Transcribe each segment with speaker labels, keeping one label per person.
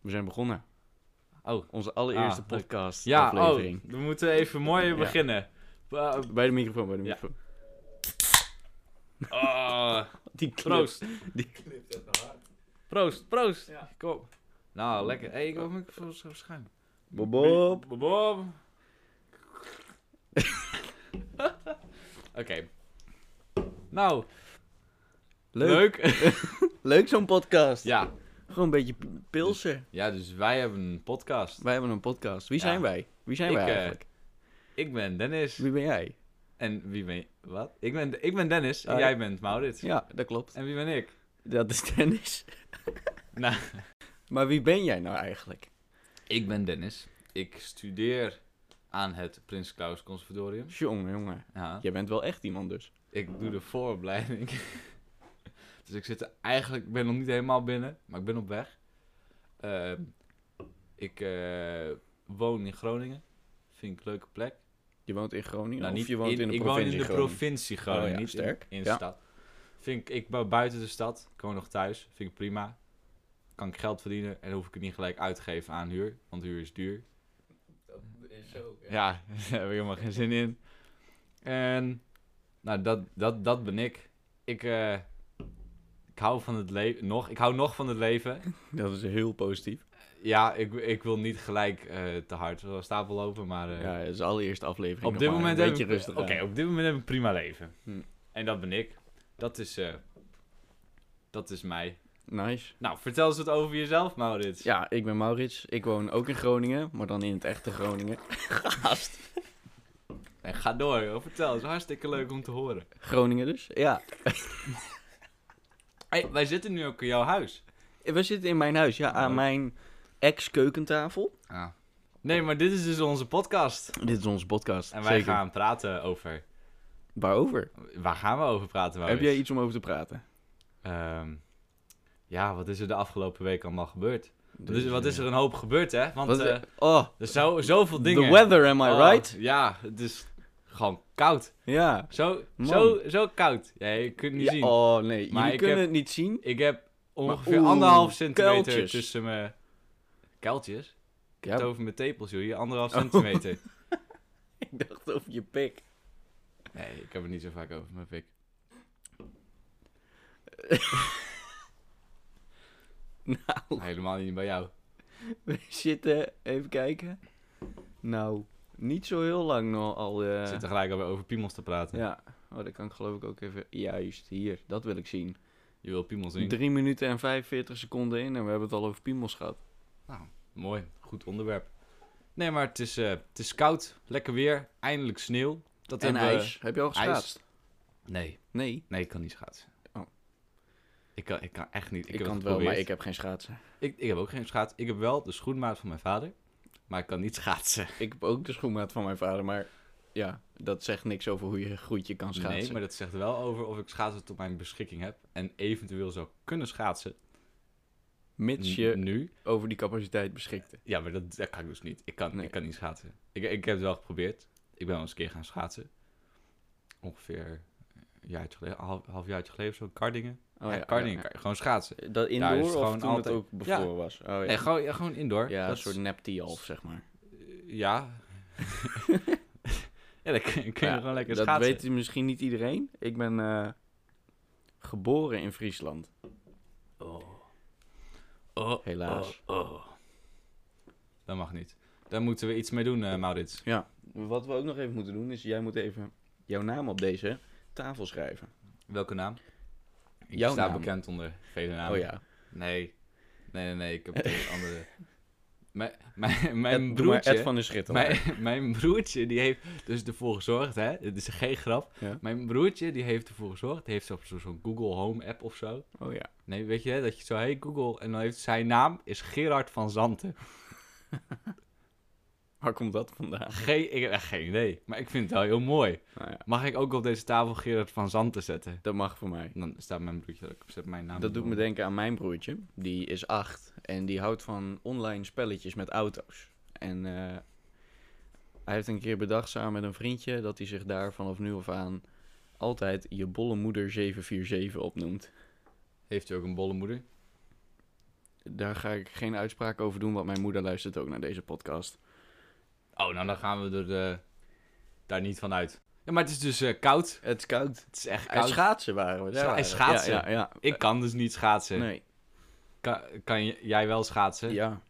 Speaker 1: We zijn begonnen.
Speaker 2: Oh.
Speaker 1: Onze allereerste
Speaker 2: Ah, leuk.
Speaker 1: podcast
Speaker 2: Ja,
Speaker 1: aflevering.
Speaker 2: oh, we moeten even mooi
Speaker 1: Ja.
Speaker 2: beginnen. Eh,
Speaker 1: Bij de microfoon, bij de
Speaker 2: Ja.
Speaker 1: microfoon.
Speaker 2: ah,
Speaker 1: Die clip.
Speaker 2: proost.
Speaker 3: Knipt het naar haar.
Speaker 2: Proost, proost.
Speaker 3: Ja.
Speaker 2: Kom op. Nou, lekker. hey, ik hoop niet voor zo'n schuim.
Speaker 1: Bob, Bob.
Speaker 2: Bob, Bob. Oké. Nou,
Speaker 1: Leuk. Leuk,
Speaker 2: leuk.
Speaker 1: zo'n podcast.
Speaker 2: ja.
Speaker 1: Gewoon een beetje p- pilsen.
Speaker 2: ja, dus wij hebben een podcast.
Speaker 1: Wij hebben een podcast. Wie
Speaker 2: Dus- Ja.
Speaker 1: zijn wij? Wie zijn
Speaker 2: Ik,
Speaker 1: wij
Speaker 2: eh,
Speaker 1: eigenlijk?
Speaker 2: Ik ben Dennis.
Speaker 1: Wie ben jij?
Speaker 2: En wie ben je? Wat? Ik ben, ik ben Dennis en
Speaker 1: Ah,
Speaker 2: jij bent Maurits.
Speaker 1: Ja, dat klopt.
Speaker 2: En wie ben ik?
Speaker 1: Dat is Dennis.
Speaker 2: Nou.
Speaker 1: Maar wie ben jij nou eigenlijk?
Speaker 2: Ik ben Dennis. Ik studeer aan het Prins Claus Conservatorium.
Speaker 1: Jongen, jongen.
Speaker 2: Ja.
Speaker 1: Jij bent wel echt iemand dus.
Speaker 2: Ik doe de vooropleiding. dus ik zit er eigenlijk, ik ben nog niet helemaal binnen, maar ik ben op weg. Eh, ik eh, woon in Groningen. Vind ik een leuke plek.
Speaker 1: Je woont in Groningen
Speaker 2: Nou,
Speaker 1: of je woont in, de
Speaker 2: ik woon
Speaker 1: provincie
Speaker 2: in de
Speaker 1: Groningen?
Speaker 2: provincie Groningen,
Speaker 1: Oh ja,
Speaker 2: niet
Speaker 1: sterk.
Speaker 2: in,
Speaker 1: Ja.
Speaker 2: in de stad. Vind ik, ik woon buiten de stad, ik woon nog thuis, vind ik prima. Kan ik geld verdienen en hoef ik het niet gelijk uit te geven aan huur, want huur is duur.
Speaker 3: Dat is zo. Ja.
Speaker 2: Ja, daar heb ik helemaal geen zin in. En, nou, dat, dat, dat ben ik. Ik, eh, ik hou van het leven, nog, ik hou nog van het leven.
Speaker 1: Dat is heel positief.
Speaker 2: Ja, ik, ik wil niet gelijk eh, te hard wel stapel lopen, maar eh,
Speaker 1: Ja, dat is de allereerste aflevering.
Speaker 2: op
Speaker 1: nog
Speaker 2: dit
Speaker 1: maar.
Speaker 2: moment
Speaker 1: een
Speaker 2: heb
Speaker 1: beetje
Speaker 2: ik,
Speaker 1: rustig.
Speaker 2: oké,
Speaker 1: aan.
Speaker 2: op dit moment heb ik een prima leven.
Speaker 1: Hm.
Speaker 2: En dat ben ik. Dat is, eh, dat is mij.
Speaker 1: Nice.
Speaker 2: Nou, vertel eens wat over jezelf, Maurits.
Speaker 1: Ja, ik ben Maurits. Ik woon ook in Groningen, maar dan in het echte Groningen.
Speaker 2: En ga door, joh. vertel. Het is hartstikke leuk om te horen.
Speaker 1: Groningen dus. Ja.
Speaker 2: Hey, wij zitten nu ook in jouw huis.
Speaker 1: We zitten in mijn huis, ja, aan
Speaker 2: Leuk.
Speaker 1: mijn ex-keukentafel.
Speaker 2: Nee, maar dit is dus onze podcast.
Speaker 1: Dit is onze podcast.
Speaker 2: En wij
Speaker 1: zeker.
Speaker 2: gaan praten over.
Speaker 1: Waarover?
Speaker 2: Waar gaan we over praten?
Speaker 1: Heb
Speaker 2: Maurits?
Speaker 1: jij iets om over te praten?
Speaker 2: Ehm, ja, wat is er de afgelopen week allemaal gebeurd? Wat is,
Speaker 1: Dus,
Speaker 2: wat
Speaker 1: eh,
Speaker 2: is er een hoop gebeurd, hè? Want
Speaker 1: wat is
Speaker 2: eh,
Speaker 1: er- Oh,
Speaker 2: er zijn zoveel dingen.
Speaker 1: the weather, am I
Speaker 2: Oh,
Speaker 1: right?
Speaker 2: Ja, het is gewoon koud.
Speaker 1: Ja.
Speaker 2: Zo,
Speaker 1: Man.
Speaker 2: zo, zo koud. Ja, je kunt het niet
Speaker 1: Ja,
Speaker 2: zien.
Speaker 1: Oh, nee.
Speaker 2: Maar
Speaker 1: Jullie
Speaker 2: ik
Speaker 1: kunnen
Speaker 2: heb-
Speaker 1: het niet zien.
Speaker 2: Ik heb ongeveer
Speaker 1: oeh,
Speaker 2: anderhalf centimeter
Speaker 1: kuiltjes.
Speaker 2: tussen mijn kuiltjes. Ik heb het
Speaker 1: Ja,
Speaker 2: over mijn tepels, joh. Hier anderhalf
Speaker 1: Oh.
Speaker 2: centimeter.
Speaker 1: ik dacht over je pik.
Speaker 2: Nee, ik heb het niet zo vaak over mijn pik. nou. Helemaal niet bij jou.
Speaker 1: We zitten, even kijken. Nou, niet zo heel lang nog al. eh,
Speaker 2: Ik zit er gelijk alweer over piemels te praten.
Speaker 1: Ja, oh, dat kan ik geloof ik ook even. Juist, hier, dat wil ik zien.
Speaker 2: Je wil piemels zien.
Speaker 1: 3 minuten en 45 seconden in en we hebben het al over piemels gehad.
Speaker 2: Mooi, goed onderwerp. Nee, maar het is, eh, het is koud, lekker weer, eindelijk sneeuw. Dat
Speaker 1: en
Speaker 2: hebben we-
Speaker 1: ijs. Heb je al
Speaker 2: ijs.
Speaker 1: geschaatst?
Speaker 2: Nee,
Speaker 1: Nee.
Speaker 2: nee, ik kan niet schaatsen.
Speaker 1: Oh.
Speaker 2: Ik kan, ik kan echt niet.
Speaker 1: Ik,
Speaker 2: Ik, heb
Speaker 1: kan het
Speaker 2: het
Speaker 1: wel, maar
Speaker 2: geprobeerd.
Speaker 1: ik heb geen schaatsen.
Speaker 2: Ik, ik heb ook geen schaats. Ik heb wel de schoenmaat van mijn vader, maar ik kan niet schaatsen.
Speaker 1: Ik heb ook de schoenmaat van mijn vader, maar ja, dat zegt niks over hoe je goed je kan schaatsen.
Speaker 2: Nee, maar dat zegt wel over of ik schaatsen tot mijn beschikking heb. En eventueel zou kunnen schaatsen.
Speaker 1: Mits je
Speaker 2: Nu.
Speaker 1: over die capaciteit beschikte.
Speaker 2: Ja, maar dat, dat kan ik dus niet. Ik kan,
Speaker 1: Nee.
Speaker 2: ik kan niet schaatsen. Ik, ik heb het wel geprobeerd. Ik ben wel eens een keer gaan schaatsen. Ongeveer een jaartje geleden, een half, half jaartje geleden of zo. Kardingen.
Speaker 1: Oh
Speaker 2: ja, Kardingen. Kar- Gewoon schaatsen.
Speaker 1: Dat indoor
Speaker 2: is
Speaker 1: of
Speaker 2: het
Speaker 1: toen
Speaker 2: gewoon
Speaker 1: het
Speaker 2: altijd-
Speaker 1: ook bevroren was? Oh, ja.
Speaker 2: Nee, gewoon, ja, gewoon indoor.
Speaker 1: ja,
Speaker 2: Dat
Speaker 1: een
Speaker 2: is-
Speaker 1: soort nep half zeg maar. Eh,
Speaker 2: Ja. ja, dan kun je, kun je
Speaker 1: Ja,
Speaker 2: gewoon lekker
Speaker 1: dat
Speaker 2: schaatsen.
Speaker 1: weet misschien niet iedereen. Ik ben eh, geboren in Friesland.
Speaker 2: Oh. Oh,
Speaker 1: Helaas.
Speaker 2: Oh, oh. Dat mag niet. Daar moeten we iets mee doen, eh, Maurits.
Speaker 1: Wat we ook nog even moeten doen is, jij moet even jouw naam op deze tafel schrijven.
Speaker 2: Welke naam? Ik
Speaker 1: Jouw
Speaker 2: sta
Speaker 1: naam.
Speaker 2: bekend onder vele namen.
Speaker 1: oh ja.
Speaker 2: Nee. Nee, nee, nee. Ik heb een andere... Mijn, mijn, mijn
Speaker 1: Ed- doe maar
Speaker 2: broertje...
Speaker 1: Ed van de Schittel.
Speaker 2: mijn, mijn broertje, die heeft dus ervoor gezorgd, hè. Dit is geen grap.
Speaker 1: Ja.
Speaker 2: Mijn broertje, die heeft ervoor gezorgd. Die heeft zo- zo- zo'n Google Home app of zo.
Speaker 1: Oh ja.
Speaker 2: Nee, weet je, hè, dat je zo... Hey Google. En dan heeft zijn naam is Gerard van Zanten.
Speaker 1: Waar komt dat vandaan?
Speaker 2: Geen, ik heb echt geen idee. Maar ik vind het wel heel mooi.
Speaker 1: Nou ja,
Speaker 2: Mag ik ook op deze tafel Gerard van Zanten zetten?
Speaker 1: dat mag voor mij.
Speaker 2: Dan staat mijn broertje erop. Zet mijn naam
Speaker 1: Dat doet me
Speaker 2: eronder.
Speaker 1: denken aan mijn broertje. Die is acht en die houdt van online spelletjes met auto's. En eh, hij heeft een keer bedacht samen met een vriendje dat hij zich daar vanaf nu af aan altijd je bolle moeder 747 opnoemt.
Speaker 2: Heeft u ook een bolle moeder?
Speaker 1: Dat daar ga ik geen uitspraak over doen, want mijn moeder luistert ook naar deze podcast.
Speaker 2: Oh, nou dan gaan we er eh, daar niet van uit. Ja, maar het is dus eh, koud.
Speaker 1: Het is koud.
Speaker 2: Het is echt
Speaker 1: Hij
Speaker 2: koud.
Speaker 1: schaatsen waren we. daar
Speaker 2: Scha-
Speaker 1: waren we.
Speaker 2: schaatsen?
Speaker 1: Ja, ja, ja.
Speaker 2: ik kan dus niet schaatsen.
Speaker 1: Nee.
Speaker 2: Kan, kan j- jij wel schaatsen?
Speaker 1: Ja.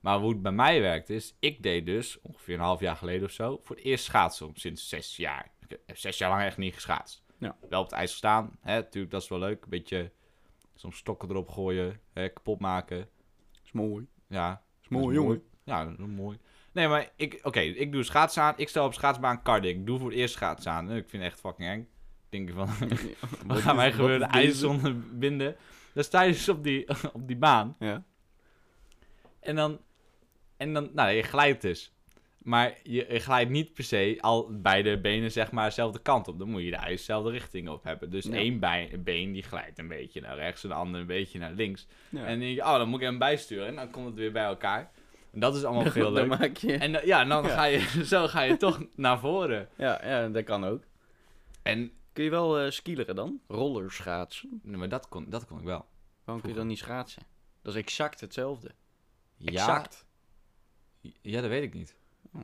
Speaker 2: Maar hoe het bij mij werkt is, ik deed dus ongeveer een half jaar geleden of zo voor het eerst schaatsen om sinds zes jaar. Ik heb zes jaar lang echt niet geschaatst.
Speaker 1: Ja.
Speaker 2: Wel op het ijs gestaan, hè, natuurlijk, dat is wel leuk. Een beetje soms stokken erop gooien, hè, kapot maken.
Speaker 1: Is mooi.
Speaker 2: Ja,
Speaker 1: Is
Speaker 2: dat
Speaker 1: mooi,
Speaker 2: is
Speaker 1: jongen.
Speaker 2: Ja, dat is wel mooi. Nee, maar ik, oké, ik doe schaatsen aan. Ik stel op schaatsbaan karting. Ik doe voor het eerst schaatsen aan. Ik vind het echt fucking eng. Denk ik van, wat gaat mij gebeuren?
Speaker 1: wat is
Speaker 2: IJs binden. Dan sta je dus op die, op die baan.
Speaker 1: Ja.
Speaker 2: En dan, en dan, nou, je glijdt dus. Maar je, je glijdt niet per se al beide benen, zeg maar, dezelfde kant op. Dan moet je de ijs dezelfde richting op hebben. Dus
Speaker 1: Ja.
Speaker 2: één bij, been die glijdt een beetje naar rechts en de andere een beetje naar links.
Speaker 1: Ja.
Speaker 2: En dan denk je, oh, dan moet ik hem bijsturen. En dan komt het weer bij elkaar. En dat is allemaal
Speaker 1: dan,
Speaker 2: veel leuk.
Speaker 1: maak je...
Speaker 2: En dan- ja, dan
Speaker 1: Ja.
Speaker 2: Ga je, zo ga je toch naar voren.
Speaker 1: Ja, ja, dat kan ook.
Speaker 2: En,
Speaker 1: Kun je wel eh skileren dan? Rollerschaatsen?
Speaker 2: nee, maar dat kon, dat kon ik wel.
Speaker 1: Waarom kun je dan niet schaatsen? Dat is exact hetzelfde. Exact.
Speaker 2: Exact. Ja, dat weet ik niet.
Speaker 1: Hm.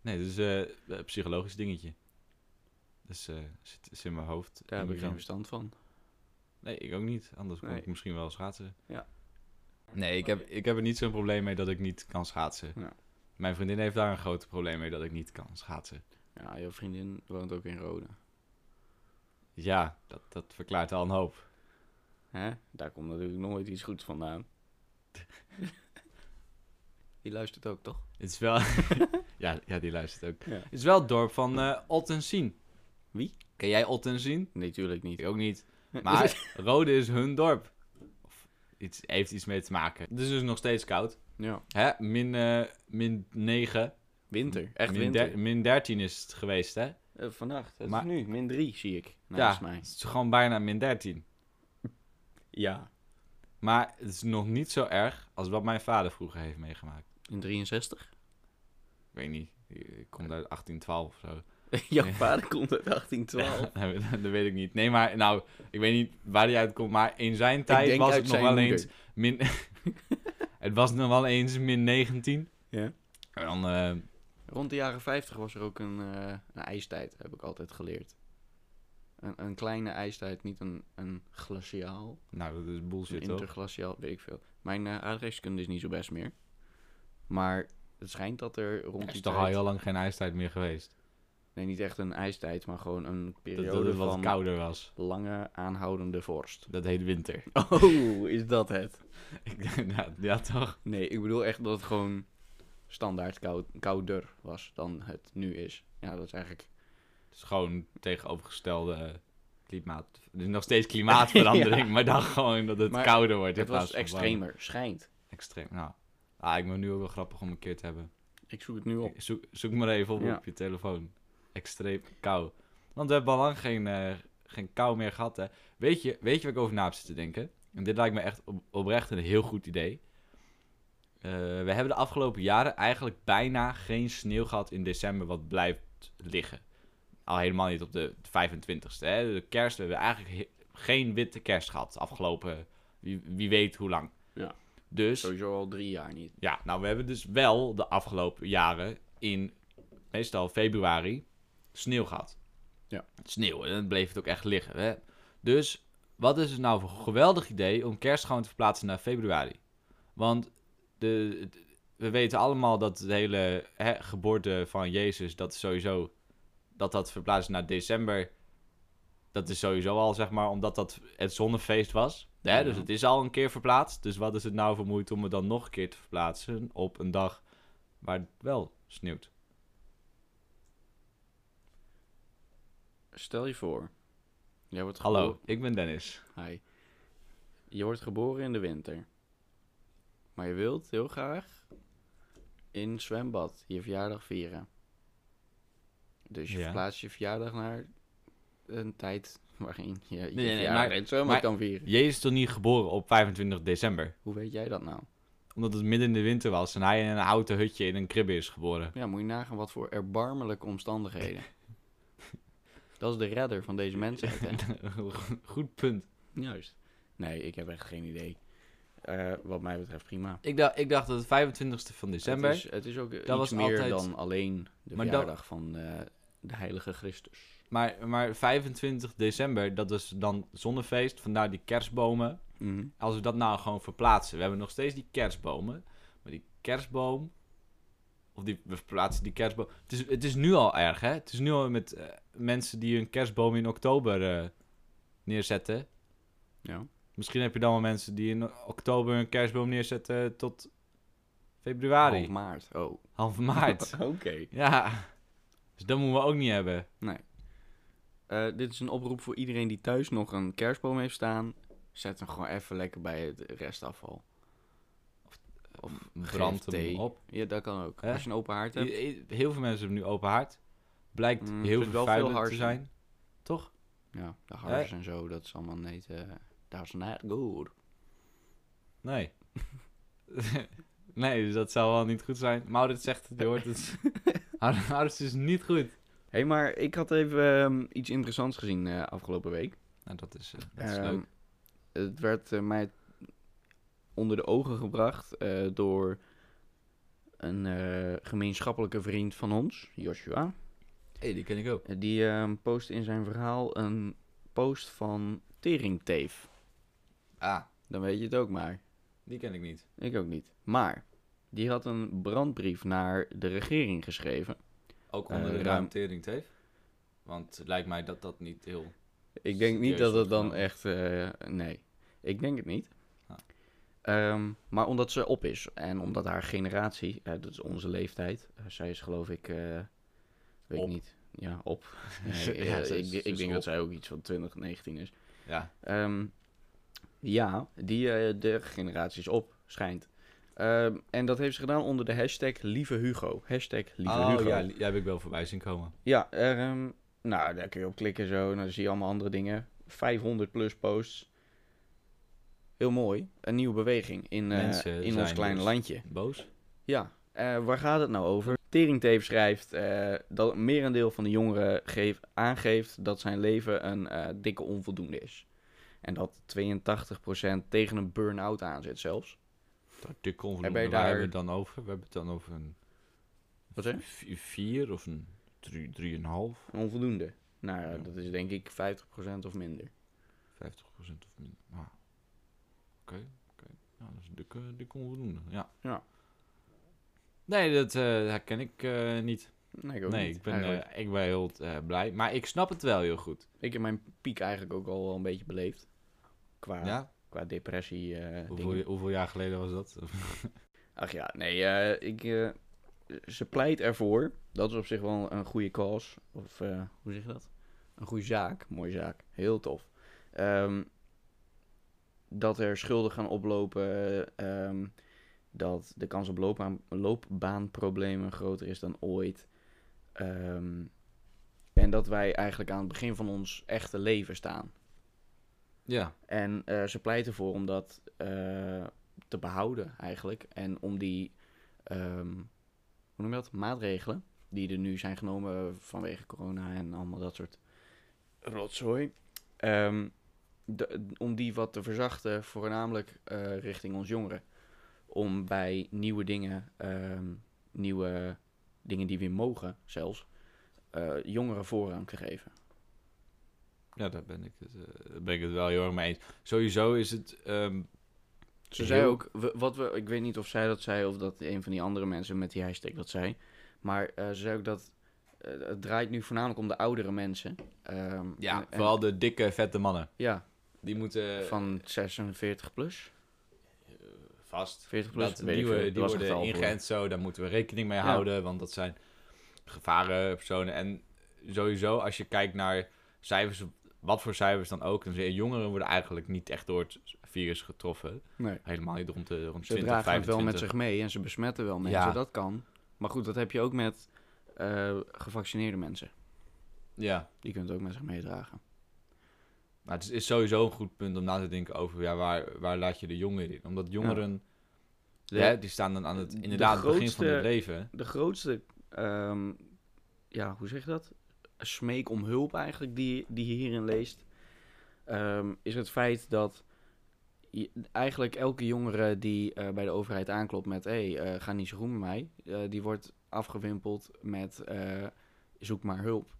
Speaker 2: Nee, dat is eh, een psychologisch dingetje. Dus eh zit, zit in mijn hoofd.
Speaker 1: Daar
Speaker 2: En
Speaker 1: heb ik
Speaker 2: dan-
Speaker 1: geen verstand van.
Speaker 2: Nee, ik ook niet. Anders kon
Speaker 1: Nee.
Speaker 2: ik misschien wel schaatsen.
Speaker 1: Ja.
Speaker 2: Nee, ik heb, ik heb er niet zo'n probleem mee dat ik niet kan schaatsen.
Speaker 1: Ja.
Speaker 2: Mijn vriendin heeft daar een groot probleem mee dat ik niet kan schaatsen.
Speaker 1: Ja, jouw vriendin woont ook in Rode.
Speaker 2: Ja, dat, dat verklaart al een hoop.
Speaker 1: Hè? Daar komt natuurlijk nooit iets goeds vandaan. Die luistert ook, toch?
Speaker 2: Het is wel... ja, ja, die luistert ook.
Speaker 1: Ja.
Speaker 2: Het is wel het dorp van eh Ottensien.
Speaker 1: Wie?
Speaker 2: Ken jij Ottensien?
Speaker 1: Nee, tuurlijk
Speaker 2: Ik
Speaker 1: niet.
Speaker 2: ook niet. Maar Rode is hun dorp. Of iets, heeft iets mee te maken. Het is dus nog steeds koud.
Speaker 1: Ja.
Speaker 2: Hè? Min, eh, min 9.
Speaker 1: Winter. Echt
Speaker 2: min
Speaker 1: winter.
Speaker 2: der- min 13 is het geweest, hè?
Speaker 1: Eh, vannacht. Het is
Speaker 2: Maar-
Speaker 1: nu. Min 3 zie ik.
Speaker 2: ja,
Speaker 1: Naast mij.
Speaker 2: het is gewoon bijna min 13.
Speaker 1: Ja.
Speaker 2: Maar het is nog niet zo erg als wat mijn vader vroeger heeft meegemaakt.
Speaker 1: In 63?
Speaker 2: Ik weet niet. Ik kom uit 1812 of zo.
Speaker 1: Jouw vader komt uit 1812.
Speaker 2: dat weet ik niet. Nee, maar nou, ik weet niet waar die uitkomt. Maar in zijn tijd
Speaker 1: denk
Speaker 2: was
Speaker 1: uit
Speaker 2: het nog
Speaker 1: zijn
Speaker 2: wel
Speaker 1: moeder.
Speaker 2: eens min... het was nog wel eens min 19.
Speaker 1: Ja.
Speaker 2: En dan... eh,
Speaker 1: Rond de jaren 50 was er ook een, eh, een ijstijd, heb ik altijd geleerd. Een, een kleine ijstijd, niet een, een glaciaal.
Speaker 2: nou, dat is bullshit,
Speaker 1: Een
Speaker 2: toch?
Speaker 1: interglaciaal, weet ik veel. Mijn eh aardrijkskunde is niet zo best meer. Maar het schijnt dat er rond
Speaker 2: Er is
Speaker 1: die
Speaker 2: toch al
Speaker 1: tijd...
Speaker 2: heel lang geen ijstijd meer geweest.
Speaker 1: Nee, niet echt een ijstijd, maar gewoon een
Speaker 2: Dat,
Speaker 1: periode
Speaker 2: dat het wat
Speaker 1: van
Speaker 2: kouder was.
Speaker 1: lange aanhoudende vorst.
Speaker 2: Dat heet winter.
Speaker 1: Oh, is dat het?
Speaker 2: Ik denk, nou, ja, toch?
Speaker 1: Nee, ik bedoel echt dat het gewoon standaard koud, kouder was dan het nu is. Ja, dat is eigenlijk...
Speaker 2: Het is gewoon tegenovergestelde eh, klimaat. Het is nog steeds klimaatverandering,
Speaker 1: Ja.
Speaker 2: maar dan gewoon dat het
Speaker 1: Maar
Speaker 2: kouder wordt. in
Speaker 1: Het
Speaker 2: plaats
Speaker 1: was
Speaker 2: van warm.
Speaker 1: extremer, schijnt.
Speaker 2: Extreem, nou. Ah, ik ben nu ook wel grappig om een keer te hebben.
Speaker 1: Ik zoek het nu op.
Speaker 2: Zoek, zoek maar even op
Speaker 1: Ja.
Speaker 2: op je telefoon. Extreem kou. Want we hebben al lang geen, eh, geen kou meer gehad, hè. Weet je, weet je waar ik over na heb zitten denken? En dit lijkt me echt op- oprecht een heel goed idee. Eh, we hebben de afgelopen jaren eigenlijk bijna geen sneeuw gehad in december wat blijft liggen. Al helemaal niet op de 25ste. Hè? De kerst, we hebben eigenlijk he- geen witte kerst gehad afgelopen wie, wie weet hoe lang.
Speaker 1: Ja.
Speaker 2: Dus
Speaker 1: Sowieso al drie jaar niet.
Speaker 2: ja, nou we hebben dus wel de afgelopen jaren in meestal februari sneeuw gehad.
Speaker 1: Ja.
Speaker 2: Sneeuw, en dan bleef het ook echt liggen. Hè? Dus wat is het nou voor een geweldig idee om kerst gewoon te verplaatsen naar februari? Want de, het- we weten allemaal dat het hele hè, geboorte van Jezus, dat is sowieso, dat dat verplaatst naar december, dat is sowieso al zeg maar, omdat dat het zonnefeest was. Hè? Dus
Speaker 1: Ja.
Speaker 2: het is al een keer verplaatst. Dus wat is het nou voor moeite om het dan nog een keer te verplaatsen op een dag waar het wel sneeuwt?
Speaker 1: Stel je voor, jij wordt
Speaker 2: Hallo, ik ben Dennis.
Speaker 1: geboren- Hi. Je wordt geboren in de winter. Maar je wilt heel graag in het zwembad je verjaardag vieren. Dus je
Speaker 2: Ja.
Speaker 1: verplaatst je verjaardag naar een tijd waarin je je
Speaker 2: nee,
Speaker 1: verjaardag
Speaker 2: maar-
Speaker 1: in het zwembad
Speaker 2: maar-
Speaker 1: kan vieren.
Speaker 2: Jezus is toch niet geboren op 25 december?
Speaker 1: Hoe weet jij dat nou?
Speaker 2: Omdat het midden in de winter was en hij in een houten hutje in een kribbe is geboren.
Speaker 1: Ja, moet je nagaan wat voor erbarmelijke omstandigheden. dat Dat is de redder van deze mensheid. hè?
Speaker 2: Goed punt.
Speaker 1: Juist. Nee, ik heb echt geen idee. Eh, wat mij betreft prima.
Speaker 2: Ik dacht, ik dacht dat het 25e van december.
Speaker 1: Het is, het is ook eh, iets
Speaker 2: was
Speaker 1: meer
Speaker 2: altijd-
Speaker 1: dan alleen de
Speaker 2: Maar dat-
Speaker 1: verjaardag van eh, de heilige Christus.
Speaker 2: Maar, maar 25 december, dat is dan zonnefeest. Vandaar die kerstbomen.
Speaker 1: Mhm.
Speaker 2: Als we dat nou gewoon verplaatsen. We hebben nog steeds die kerstbomen. Maar die kerstboom. Of die, we verplaatsen die kerstboom. Het is, het is nu al erg, hè? Het is nu al met eh, mensen die hun kerstboom in oktober eh, neerzetten.
Speaker 1: Ja.
Speaker 2: Misschien heb je dan wel mensen die in oktober hun kerstboom neerzetten tot februari.
Speaker 1: Half maart. Oh.
Speaker 2: Half maart.
Speaker 1: Oké.
Speaker 2: ja. Dus dat moeten we ook niet hebben.
Speaker 1: Eh, dit is een oproep voor iedereen die thuis nog een kerstboom heeft staan. Zet hem gewoon even lekker bij het restafval. Of
Speaker 2: Brand
Speaker 1: geef
Speaker 2: hem
Speaker 1: thee.
Speaker 2: op.
Speaker 1: Ja, dat kan ook.
Speaker 2: Hè?
Speaker 1: Als je een open haard hebt.
Speaker 2: I- i- Heel veel mensen hebben nu open haard. Blijkt
Speaker 1: Mm,
Speaker 2: heel
Speaker 1: vind wel veel
Speaker 2: vervuilend te
Speaker 1: hardsen.
Speaker 2: zijn. Toch?
Speaker 1: Ja, de hars en zo, dat is allemaal niet... eh dat is niet goed.
Speaker 2: Nee. nee, dus dat zou wel niet goed zijn. Maurits zegt het, je hoort het. Hard- Hardst is niet goed.
Speaker 1: Hé, hey, maar ik had even ehm, iets interessants gezien eh, afgelopen week.
Speaker 2: Nou, dat is, eh, dat is
Speaker 1: Ehm,
Speaker 2: leuk.
Speaker 1: Het werd eh, mij onder de ogen gebracht eh, door een eh, gemeenschappelijke vriend van ons, Joshua.
Speaker 2: hey, die ken ik ook.
Speaker 1: Eh, Die ehm post in zijn verhaal een post van Teringteef.
Speaker 2: Ah,
Speaker 1: Dan weet je het ook maar.
Speaker 2: die ken ik niet.
Speaker 1: Ik ook niet. Maar die had een brandbrief naar de regering geschreven.
Speaker 2: Ook
Speaker 1: Eh,
Speaker 2: onder de
Speaker 1: ruim-
Speaker 2: ruimtering teef. Want het lijkt mij dat dat niet heel...
Speaker 1: Ik denk niet
Speaker 2: Serieus
Speaker 1: dat het
Speaker 2: wordt
Speaker 1: dan
Speaker 2: genomen.
Speaker 1: echt. eh, nee, ik denk het niet.
Speaker 2: Ah.
Speaker 1: Ehm, maar omdat ze op is en omdat haar generatie, eh, dat is onze leeftijd, eh, zij is geloof ik, eh, weet
Speaker 2: Op.
Speaker 1: ik niet, ja, op.
Speaker 2: Ja,
Speaker 1: Nee, eh,
Speaker 2: ze is-
Speaker 1: ik
Speaker 2: ze
Speaker 1: ik
Speaker 2: is
Speaker 1: denk
Speaker 2: op.
Speaker 1: dat zij ook iets van 2019 is.
Speaker 2: Ja,
Speaker 1: Ehm, ja, die, eh, de generatie is op, schijnt. Ehm, en dat heeft ze gedaan onder de hashtag Lieve Hugo. Hashtag Lieve
Speaker 2: oh,
Speaker 1: Hugo.
Speaker 2: ja, li- ja, heb ik wel voorbij zien komen.
Speaker 1: Ja, er, ehm, nou, daar kun je op klikken zo. En dan zie je allemaal andere dingen. 500 plus posts. Heel mooi. Een nieuwe beweging in, eh,
Speaker 2: Mensen
Speaker 1: in ons
Speaker 2: zijn
Speaker 1: kleine
Speaker 2: dus-
Speaker 1: landje.
Speaker 2: Boos?
Speaker 1: Ja, eh, waar gaat het nou over? Teringteef schrijft eh, dat een merendeel van de jongeren geef, aangeeft dat zijn leven een eh, dikke onvoldoende is. En dat 82% tegen een burn-out aanzit zelfs.
Speaker 2: Dat
Speaker 1: Heb
Speaker 2: dik
Speaker 1: jij
Speaker 2: onvoldoende. Waar
Speaker 1: daar-
Speaker 2: hebben we het dan over? We hebben het dan over een
Speaker 1: Wat zeg
Speaker 2: v- vier of een drie, drieënhalf,
Speaker 1: Een onvoldoende. Nou ja,
Speaker 2: Ja.
Speaker 1: dat is denk ik 50% of minder.
Speaker 2: 50 procent of minder. Ah. Oké, oké. Ja, dat is dik, eh, dik onvoldoende, ja.
Speaker 1: Ja.
Speaker 2: Nee, dat eh, herken ik eh, niet.
Speaker 1: Nee, ik ook
Speaker 2: nee,
Speaker 1: niet,
Speaker 2: ik, ben,
Speaker 1: eigenlijk.
Speaker 2: eh, ik ben heel eh, blij. Maar ik snap het wel heel goed.
Speaker 1: Ik heb mijn piek eigenlijk ook al wel een beetje beleefd. Qua,
Speaker 2: ja?
Speaker 1: qua depressie. eh
Speaker 2: Hoeveel,
Speaker 1: dingen.
Speaker 2: hoeveel jaar geleden was dat?
Speaker 1: Ach ja, nee. eh, ik, eh, ze pleit ervoor. Dat is op zich wel een goede cause. Of eh, hoe zeg je dat? Een goede zaak. Mooie zaak. Heel tof. Ehm, dat er schulden gaan oplopen. ehm, dat de kans op loopbaan, loopbaanproblemen groter is dan ooit. Ehm, en dat wij eigenlijk aan het begin van ons echte leven staan.
Speaker 2: ja.
Speaker 1: En eh, ze pleit ervoor om dat eh, te behouden eigenlijk. En om die, ehm, hoe noem je dat, maatregelen die er nu zijn genomen eh, vanwege corona en allemaal dat soort rotzooi. ehm, de- om die wat te verzachten, voornamelijk eh, richting ons jongeren. Om bij nieuwe dingen, ehm, nieuwe dingen die we mogen zelfs, eh, jongeren voorrang te geven.
Speaker 2: Ja, daar ben ik, het, eh, daar ben ik het wel heel erg mee eens. Sowieso is het... ehm,
Speaker 1: Ze zei
Speaker 2: heel-
Speaker 1: ook, we- wat we, ik weet niet of zij dat zei of dat een van die andere mensen met die hashtag dat zei. Maar eh, ze zei ook dat eh, het draait nu voornamelijk om de oudere mensen. Ehm,
Speaker 2: Ja,
Speaker 1: en- en-
Speaker 2: vooral eh, de dikke, vette mannen.
Speaker 1: Ja,
Speaker 2: Die moeten...
Speaker 1: van 46 plus.
Speaker 2: vast.
Speaker 1: 40 plus,
Speaker 2: Dat,
Speaker 1: weet ik
Speaker 2: die
Speaker 1: veel.
Speaker 2: we-
Speaker 1: Er
Speaker 2: die
Speaker 1: was een
Speaker 2: worden
Speaker 1: getal voor.
Speaker 2: ingeënt zo, daar moeten we rekening mee
Speaker 1: Ja.
Speaker 2: houden, want dat zijn gevarenpersonen. En sowieso, als je kijkt naar cijfers, wat voor cijfers dan ook, dan zie je jongeren worden eigenlijk niet echt door het virus getroffen.
Speaker 1: Nee.
Speaker 2: Helemaal niet rond de rond
Speaker 1: Ze
Speaker 2: 20,
Speaker 1: dragen het wel
Speaker 2: 25.
Speaker 1: met zich mee en ze besmetten wel mensen,
Speaker 2: Ja.
Speaker 1: dat kan. Maar goed, dat heb je ook met eh, gevaccineerde mensen.
Speaker 2: Ja,
Speaker 1: Die kunnen het ook met zich meedragen.
Speaker 2: maar het is, is sowieso een goed punt om na te denken over ja, waar, waar laat je de jongeren in. Omdat jongeren, hè, die staan dan aan het,
Speaker 1: de
Speaker 2: inderdaad, het begin van
Speaker 1: grootste-
Speaker 2: hun leven.
Speaker 1: de grootste, ehm, ja, hoe zeg je dat? smeek om hulp eigenlijk die, die je hierin leest, ehm, is het feit dat je- eigenlijk elke jongere die eh, bij de overheid aanklopt met hé, hey, eh, ga niet zo goed met mij, eh, die wordt afgewimpeld met eh, zoek maar hulp.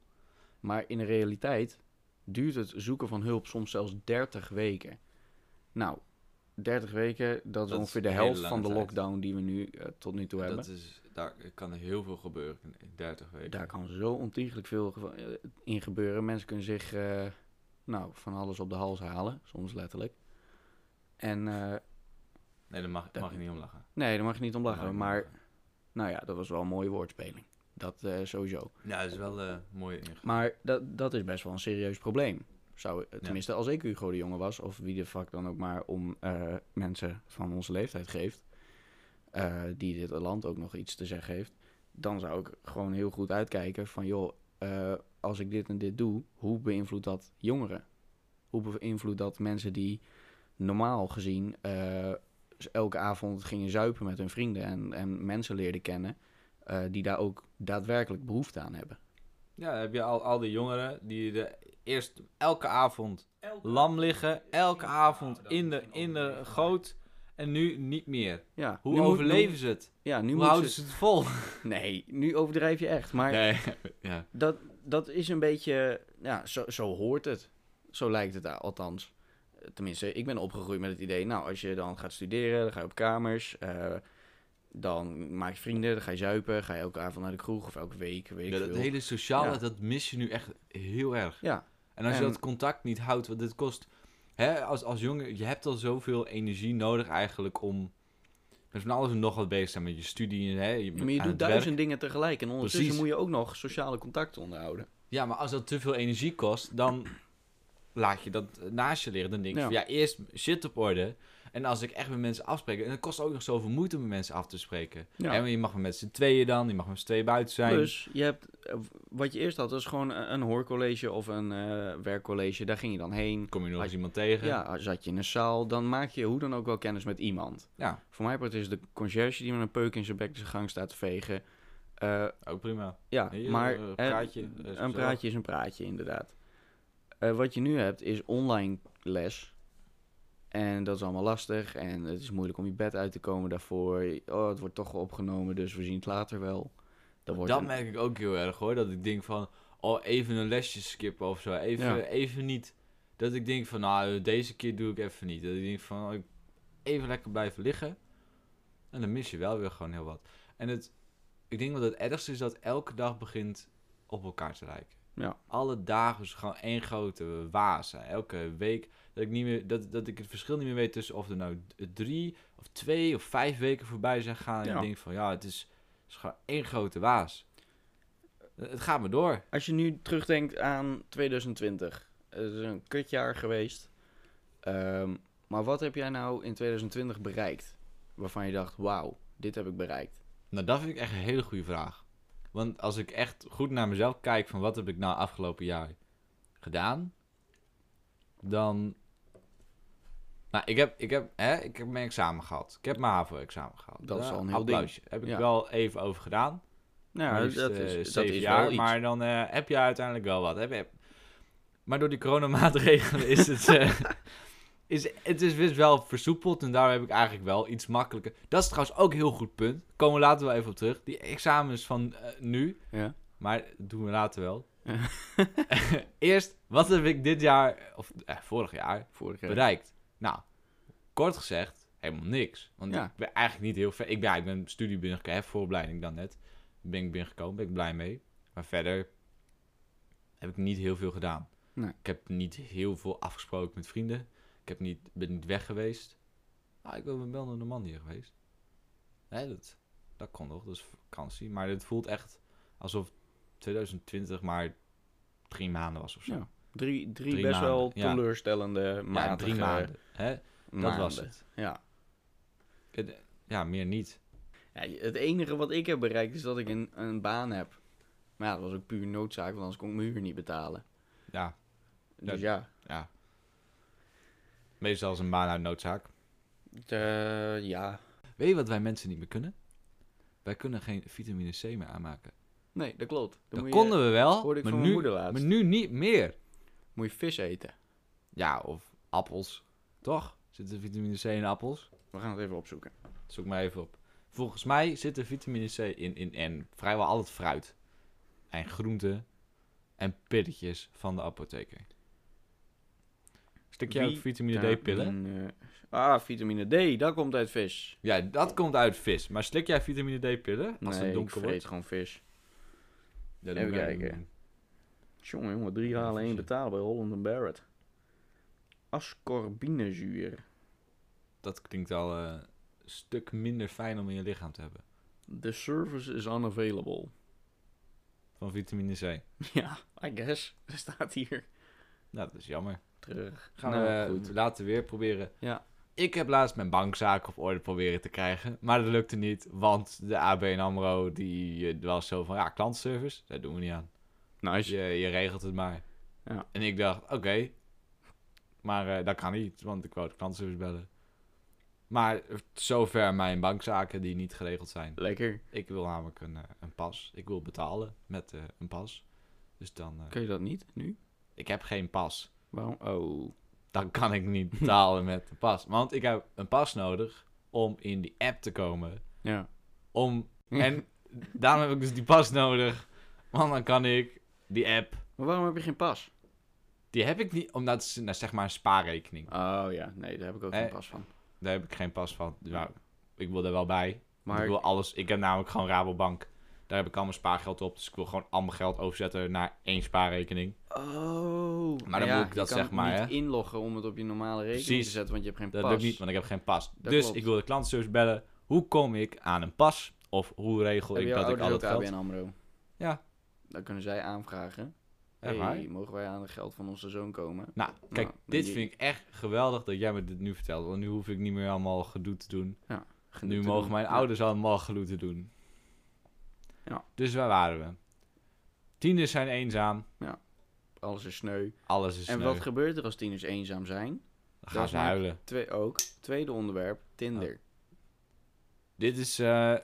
Speaker 1: Maar in de realiteit duurt het zoeken van hulp soms zelfs 30 weken. Nou, 30 weken, dat is
Speaker 2: is
Speaker 1: ongeveer de
Speaker 2: een hele
Speaker 1: helft
Speaker 2: lange
Speaker 1: van de
Speaker 2: tijd.
Speaker 1: lockdown die we nu eh, tot nu toe hebben.
Speaker 2: Dat is, daar kan heel veel gebeuren in- in 30 weken.
Speaker 1: Daar kan zo ontiegelijk veel geva- eh, in gebeuren. Mensen kunnen zich eh, nou, van alles op de hals halen, soms letterlijk. En eh,
Speaker 2: Nee, daar mag,
Speaker 1: Daar-
Speaker 2: mag je niet om lachen.
Speaker 1: nee, daar mag je niet om
Speaker 2: Daar mag je
Speaker 1: lachen.
Speaker 2: niet
Speaker 1: Maar
Speaker 2: om lachen.
Speaker 1: nou ja, dat was wel een mooie woordspeling. Dat eh, sowieso.
Speaker 2: Ja, dat is wel eh mooi ingegaan.
Speaker 1: Maar dat, dat is best wel een serieus probleem. Zou, tenminste, als ik Hugo de Jonge was, of wie de fuck dan ook maar om eh, mensen van onze leeftijd geeft, eh, die dit land ook nog iets te zeggen heeft, dan zou ik gewoon heel goed uitkijken van, joh, eh, als ik dit en dit doe, hoe beïnvloedt dat jongeren? Hoe beïnvloedt dat mensen die normaal gezien eh, elke avond gingen zuipen met hun vrienden en, en mensen leerden kennen, eh, die daar ook daadwerkelijk behoefte aan hebben?
Speaker 2: Ja, dan heb je al, al die jongeren die de eerst elke avond lam liggen, elke avond in de, in de goot en nu niet meer.
Speaker 1: Ja,
Speaker 2: Hoe
Speaker 1: nu moet-
Speaker 2: overleven ze het?
Speaker 1: Ja, nu
Speaker 2: Hoe
Speaker 1: moeten
Speaker 2: houden ze het vol?
Speaker 1: Nee, nu overdrijf je echt. Maar
Speaker 2: Nee, ja.
Speaker 1: dat, dat is een beetje... Ja, zo, zo hoort het. Zo lijkt het a- althans. Eh, Tenminste, ik ben opgegroeid met het idee... Nou, als je dan gaat studeren, dan ga je op kamers... eh, dan maak je vrienden, dan ga je zuipen... ga je elke avond naar de kroeg of elke week, weet
Speaker 2: Ja,
Speaker 1: ik
Speaker 2: dat
Speaker 1: veel.
Speaker 2: hele sociale,
Speaker 1: Ja.
Speaker 2: dat mis je nu echt heel erg.
Speaker 1: Ja,
Speaker 2: En als je
Speaker 1: En-
Speaker 2: dat contact niet houdt, want dit kost... Hè, als, als jongen, je hebt al zoveel energie nodig eigenlijk om... Met van alles en nog wat bezig te zijn met je studie. en, Hè, je,
Speaker 1: maar je
Speaker 2: aan
Speaker 1: doet
Speaker 2: het werk.
Speaker 1: duizend dingen tegelijk... en ondertussen
Speaker 2: Precies.
Speaker 1: moet je ook nog sociale contacten onderhouden.
Speaker 2: Ja, maar als dat te veel energie kost, dan laat je dat naast je liggen. Dan denk je
Speaker 1: Ja.
Speaker 2: van ja, eerst shit op orde. En als ik echt met mensen afspreek, en het kost ook nog zoveel moeite om met mensen af te spreken.
Speaker 1: Ja.
Speaker 2: Hè, want je mag maar met z'n tweeën dan, je mag maar met z'n tweeën buiten zijn.
Speaker 1: Plus, je hebt, eh, w- wat je eerst had, was gewoon een, een hoorcollege of een eh, werkcollege. Daar ging je dan heen.
Speaker 2: kom je nog
Speaker 1: Als-
Speaker 2: eens iemand tegen.
Speaker 1: Ja, zat je in een zaal, dan maak je hoe dan ook wel kennis met iemand.
Speaker 2: Ja,
Speaker 1: Voor mij part is de conciërge die met een peuk in zijn bek de gang staat te vegen. Eh,
Speaker 2: ook prima.
Speaker 1: ja,
Speaker 2: Hier,
Speaker 1: maar
Speaker 2: eh,
Speaker 1: eh,
Speaker 2: praatje, eh, is
Speaker 1: een
Speaker 2: gezellig.
Speaker 1: praatje is een praatje, inderdaad. Eh, wat je nu hebt is online les. En dat is allemaal lastig en het is moeilijk om je bed uit te komen daarvoor. Oh, het wordt toch wel opgenomen, dus we zien het later wel. Dat wordt
Speaker 2: dat
Speaker 1: een-
Speaker 2: merk ik ook heel erg hoor. Dat ik denk van, oh even een lesje skippen of zo. Even,
Speaker 1: Ja.
Speaker 2: even niet. Dat ik denk van, nou deze keer doe ik even niet. Dat ik denk van, oh, ik- even lekker blijven liggen. En dan mis je wel weer gewoon heel wat. En het, ik denk dat het ergste is dat elke dag begint op elkaar te lijken.
Speaker 1: Ja.
Speaker 2: Alle dagen is gewoon één grote waas. Elke week dat ik, niet meer, dat, dat ik het verschil niet meer weet tussen of er nou d- drie of twee of vijf weken voorbij zijn gegaan. En
Speaker 1: Ja.
Speaker 2: ik denk van ja, het is, het is gewoon één grote waas. Eh, Het gaat maar door.
Speaker 1: Als je nu terugdenkt aan 2020. Het is een kutjaar geweest. Ehm, maar wat heb jij nou in 2020 bereikt? Waarvan je dacht, wauw, dit heb ik bereikt.
Speaker 2: Nou, dat vind ik echt een hele goede vraag. Want als ik echt goed naar mezelf kijk van wat heb ik nou afgelopen jaar gedaan, dan... Nou, ik heb, ik heb, hè, ik heb mijn examen gehad. Ik heb mijn HAVO-examen gehad.
Speaker 1: Dat is
Speaker 2: Eh,
Speaker 1: al een heel ding.
Speaker 2: applausje. Heb ik
Speaker 1: Ja.
Speaker 2: wel even over gedaan.
Speaker 1: Nou,
Speaker 2: Maar liefst,
Speaker 1: dat
Speaker 2: eh,
Speaker 1: is, dat
Speaker 2: zeven
Speaker 1: is
Speaker 2: jaar,
Speaker 1: wel iets.
Speaker 2: Maar dan eh, heb je uiteindelijk wel wat. Heb, heb. Maar door die coronamaatregelen is het... eh, is, het is dus wel versoepeld en daar heb ik eigenlijk wel iets makkelijker. Dat is trouwens ook een heel goed punt. Komen we later wel even op terug. Die examens van eh, nu,
Speaker 1: Ja.
Speaker 2: maar dat doen we later wel.
Speaker 1: Ja.
Speaker 2: Eerst, wat heb ik dit jaar, of eh, vorig jaar,
Speaker 1: Vorig jaar.
Speaker 2: bereikt? Nou, kort gezegd, helemaal niks. Want
Speaker 1: Ja.
Speaker 2: ik ben eigenlijk niet heel ver. Ik ben, ja, ik ben studie binnengekomen, hè, vooropleiding dan net. Ben ik binnengekomen, ben ik blij mee. Maar verder heb ik niet heel veel gedaan.
Speaker 1: Nee.
Speaker 2: Ik heb niet heel veel afgesproken met vrienden. Ik heb niet, ben niet weg geweest. Nou, ik ben wel naar Normandië geweest. Nee, dat, dat kon nog, dat is vakantie. Maar het voelt echt alsof 2020 maar drie maanden was of zo.
Speaker 1: Ja, Drie, drie,
Speaker 2: Drie
Speaker 1: best wel
Speaker 2: maanden, ja.
Speaker 1: teleurstellende
Speaker 2: Ja,
Speaker 1: matige
Speaker 2: drie maanden. Hè? Dat
Speaker 1: maanden.
Speaker 2: was het.
Speaker 1: Ja.
Speaker 2: Het- Eh, Ja, meer niet.
Speaker 1: Ja, Het enige wat ik heb bereikt is dat ik een, een baan heb. Maar ja, dat was ook puur noodzaak, want anders kon ik mijn huur niet betalen.
Speaker 2: Ja,
Speaker 1: Dus ja,
Speaker 2: ja. Meestal is een baan uit noodzaak.
Speaker 1: eh, ja.
Speaker 2: Weet je wat wij mensen niet meer kunnen? Wij kunnen geen vitamine C meer aanmaken.
Speaker 1: Nee, dat klopt. Dan
Speaker 2: Dat
Speaker 1: moet je-
Speaker 2: konden we wel,
Speaker 1: hoorde ik
Speaker 2: maar
Speaker 1: van mijn
Speaker 2: nu,
Speaker 1: moeder laatst.
Speaker 2: maar nu niet meer.
Speaker 1: Moet je vis eten.
Speaker 2: Ja, of appels. Toch? Zit er vitamine C in appels?
Speaker 1: We gaan het even opzoeken.
Speaker 2: Zoek maar even op. Volgens mij zit er vitamine C in, in en vrijwel al het fruit. En groenten en pilletjes van de apotheker. Stukje ook vitamine D-pillen?
Speaker 1: Vitamine- Ah, vitamine D, dat komt uit vis.
Speaker 2: Ja, dat komt uit vis. Maar slik jij vitamine D-pillen als
Speaker 1: nee,
Speaker 2: het
Speaker 1: ik
Speaker 2: donker
Speaker 1: vreet
Speaker 2: wordt?
Speaker 1: gewoon vis.
Speaker 2: Ja,
Speaker 1: Even
Speaker 2: moet jij
Speaker 1: kijken.
Speaker 2: doen.
Speaker 1: Jongen, jongen, drie
Speaker 2: Ja,
Speaker 1: halen één
Speaker 2: visje.
Speaker 1: betalen bij Holland en Barrett. Ascorbinezuur.
Speaker 2: Dat klinkt al eh, een stuk minder fijn om in je lichaam te hebben.
Speaker 1: The service is unavailable.
Speaker 2: Van vitamine C.
Speaker 1: Ja, I guess. Dat staat hier.
Speaker 2: Nou, dat is jammer.
Speaker 1: Terug.
Speaker 2: Gaan
Speaker 1: Nou,
Speaker 2: we
Speaker 1: goed.
Speaker 2: later weer proberen.
Speaker 1: Ja.
Speaker 2: Ik heb laatst mijn bankzaak op orde proberen te krijgen. Maar dat lukte niet, want de ABN AMRO die eh, was zo van... Ja, klantservice, daar doen we niet aan.
Speaker 1: Nice.
Speaker 2: Je, je regelt het maar.
Speaker 1: Dus Ja.
Speaker 2: En ik dacht, oké. Maar eh, dat kan niet, want ik wou de klantservice bellen. Maar eh, zover mijn bankzaken die niet geregeld zijn.
Speaker 1: Lekker.
Speaker 2: Ik wil namelijk een, eh, een pas. Ik wil betalen met eh, een pas. Dus dan... eh,
Speaker 1: Kun je dat niet nu?
Speaker 2: ik heb geen pas.
Speaker 1: Waarom? Oh.
Speaker 2: dan kan ik niet betalen met een pas. Want ik heb een pas nodig om in die app te komen.
Speaker 1: Ja.
Speaker 2: Om... En daarom heb ik dus die pas nodig. Want dan kan ik die app...
Speaker 1: Maar waarom heb je geen pas?
Speaker 2: Die heb ik niet, omdat het is nou, zeg maar een spaarrekening.
Speaker 1: Oh ja, nee, daar heb ik ook
Speaker 2: Eh,
Speaker 1: geen pas van.
Speaker 2: Daar heb ik geen pas van. Nou, ik wil er wel bij. Maar... Ik
Speaker 1: Maar
Speaker 2: wil alles... Ik heb namelijk gewoon Rabobank. Daar heb ik al mijn spaargeld op. Dus ik wil gewoon al mijn geld overzetten naar één spaarrekening.
Speaker 1: Oh.
Speaker 2: Maar dan
Speaker 1: ja,
Speaker 2: moet ik dat
Speaker 1: je kan
Speaker 2: zeg maar,
Speaker 1: niet inloggen om het op je normale rekening
Speaker 2: Precies.
Speaker 1: te zetten, want je hebt geen
Speaker 2: Dat
Speaker 1: pas.
Speaker 2: lukt niet, want ik heb geen pas.
Speaker 1: Dat
Speaker 2: dus
Speaker 1: klopt.
Speaker 2: ik wil de klantenservice bellen. Hoe kom ik aan een pas? Of hoe regel
Speaker 1: Heb
Speaker 2: ik
Speaker 1: jouw
Speaker 2: dat ik
Speaker 1: ouders
Speaker 2: al het
Speaker 1: ook
Speaker 2: geld...
Speaker 1: ABN AMRO?
Speaker 2: Ja.
Speaker 1: Dan kunnen zij aanvragen.
Speaker 2: Echt waar?
Speaker 1: hey, mogen wij aan het geld van onze zoon komen?
Speaker 2: Nou, kijk,
Speaker 1: Nou,
Speaker 2: dit
Speaker 1: je-
Speaker 2: vind ik echt geweldig dat jij me dit nu vertelt. Want nu hoef ik niet meer allemaal gedoe te doen. nu
Speaker 1: Te
Speaker 2: mogen
Speaker 1: doen.
Speaker 2: mijn
Speaker 1: Ja.
Speaker 2: ouders allemaal gedoe te doen.
Speaker 1: Ja.
Speaker 2: Dus waar waren we? Tieners zijn eenzaam.
Speaker 1: Alles is sneu.
Speaker 2: Alles is
Speaker 1: En
Speaker 2: sneu.
Speaker 1: wat gebeurt er als tieners eenzaam zijn?
Speaker 2: Dan
Speaker 1: dat
Speaker 2: gaan
Speaker 1: is
Speaker 2: ze
Speaker 1: mijn-
Speaker 2: huilen.
Speaker 1: Twee, ook. Tweede onderwerp,
Speaker 2: Oh.
Speaker 1: Tinder.
Speaker 2: Dit is... eh,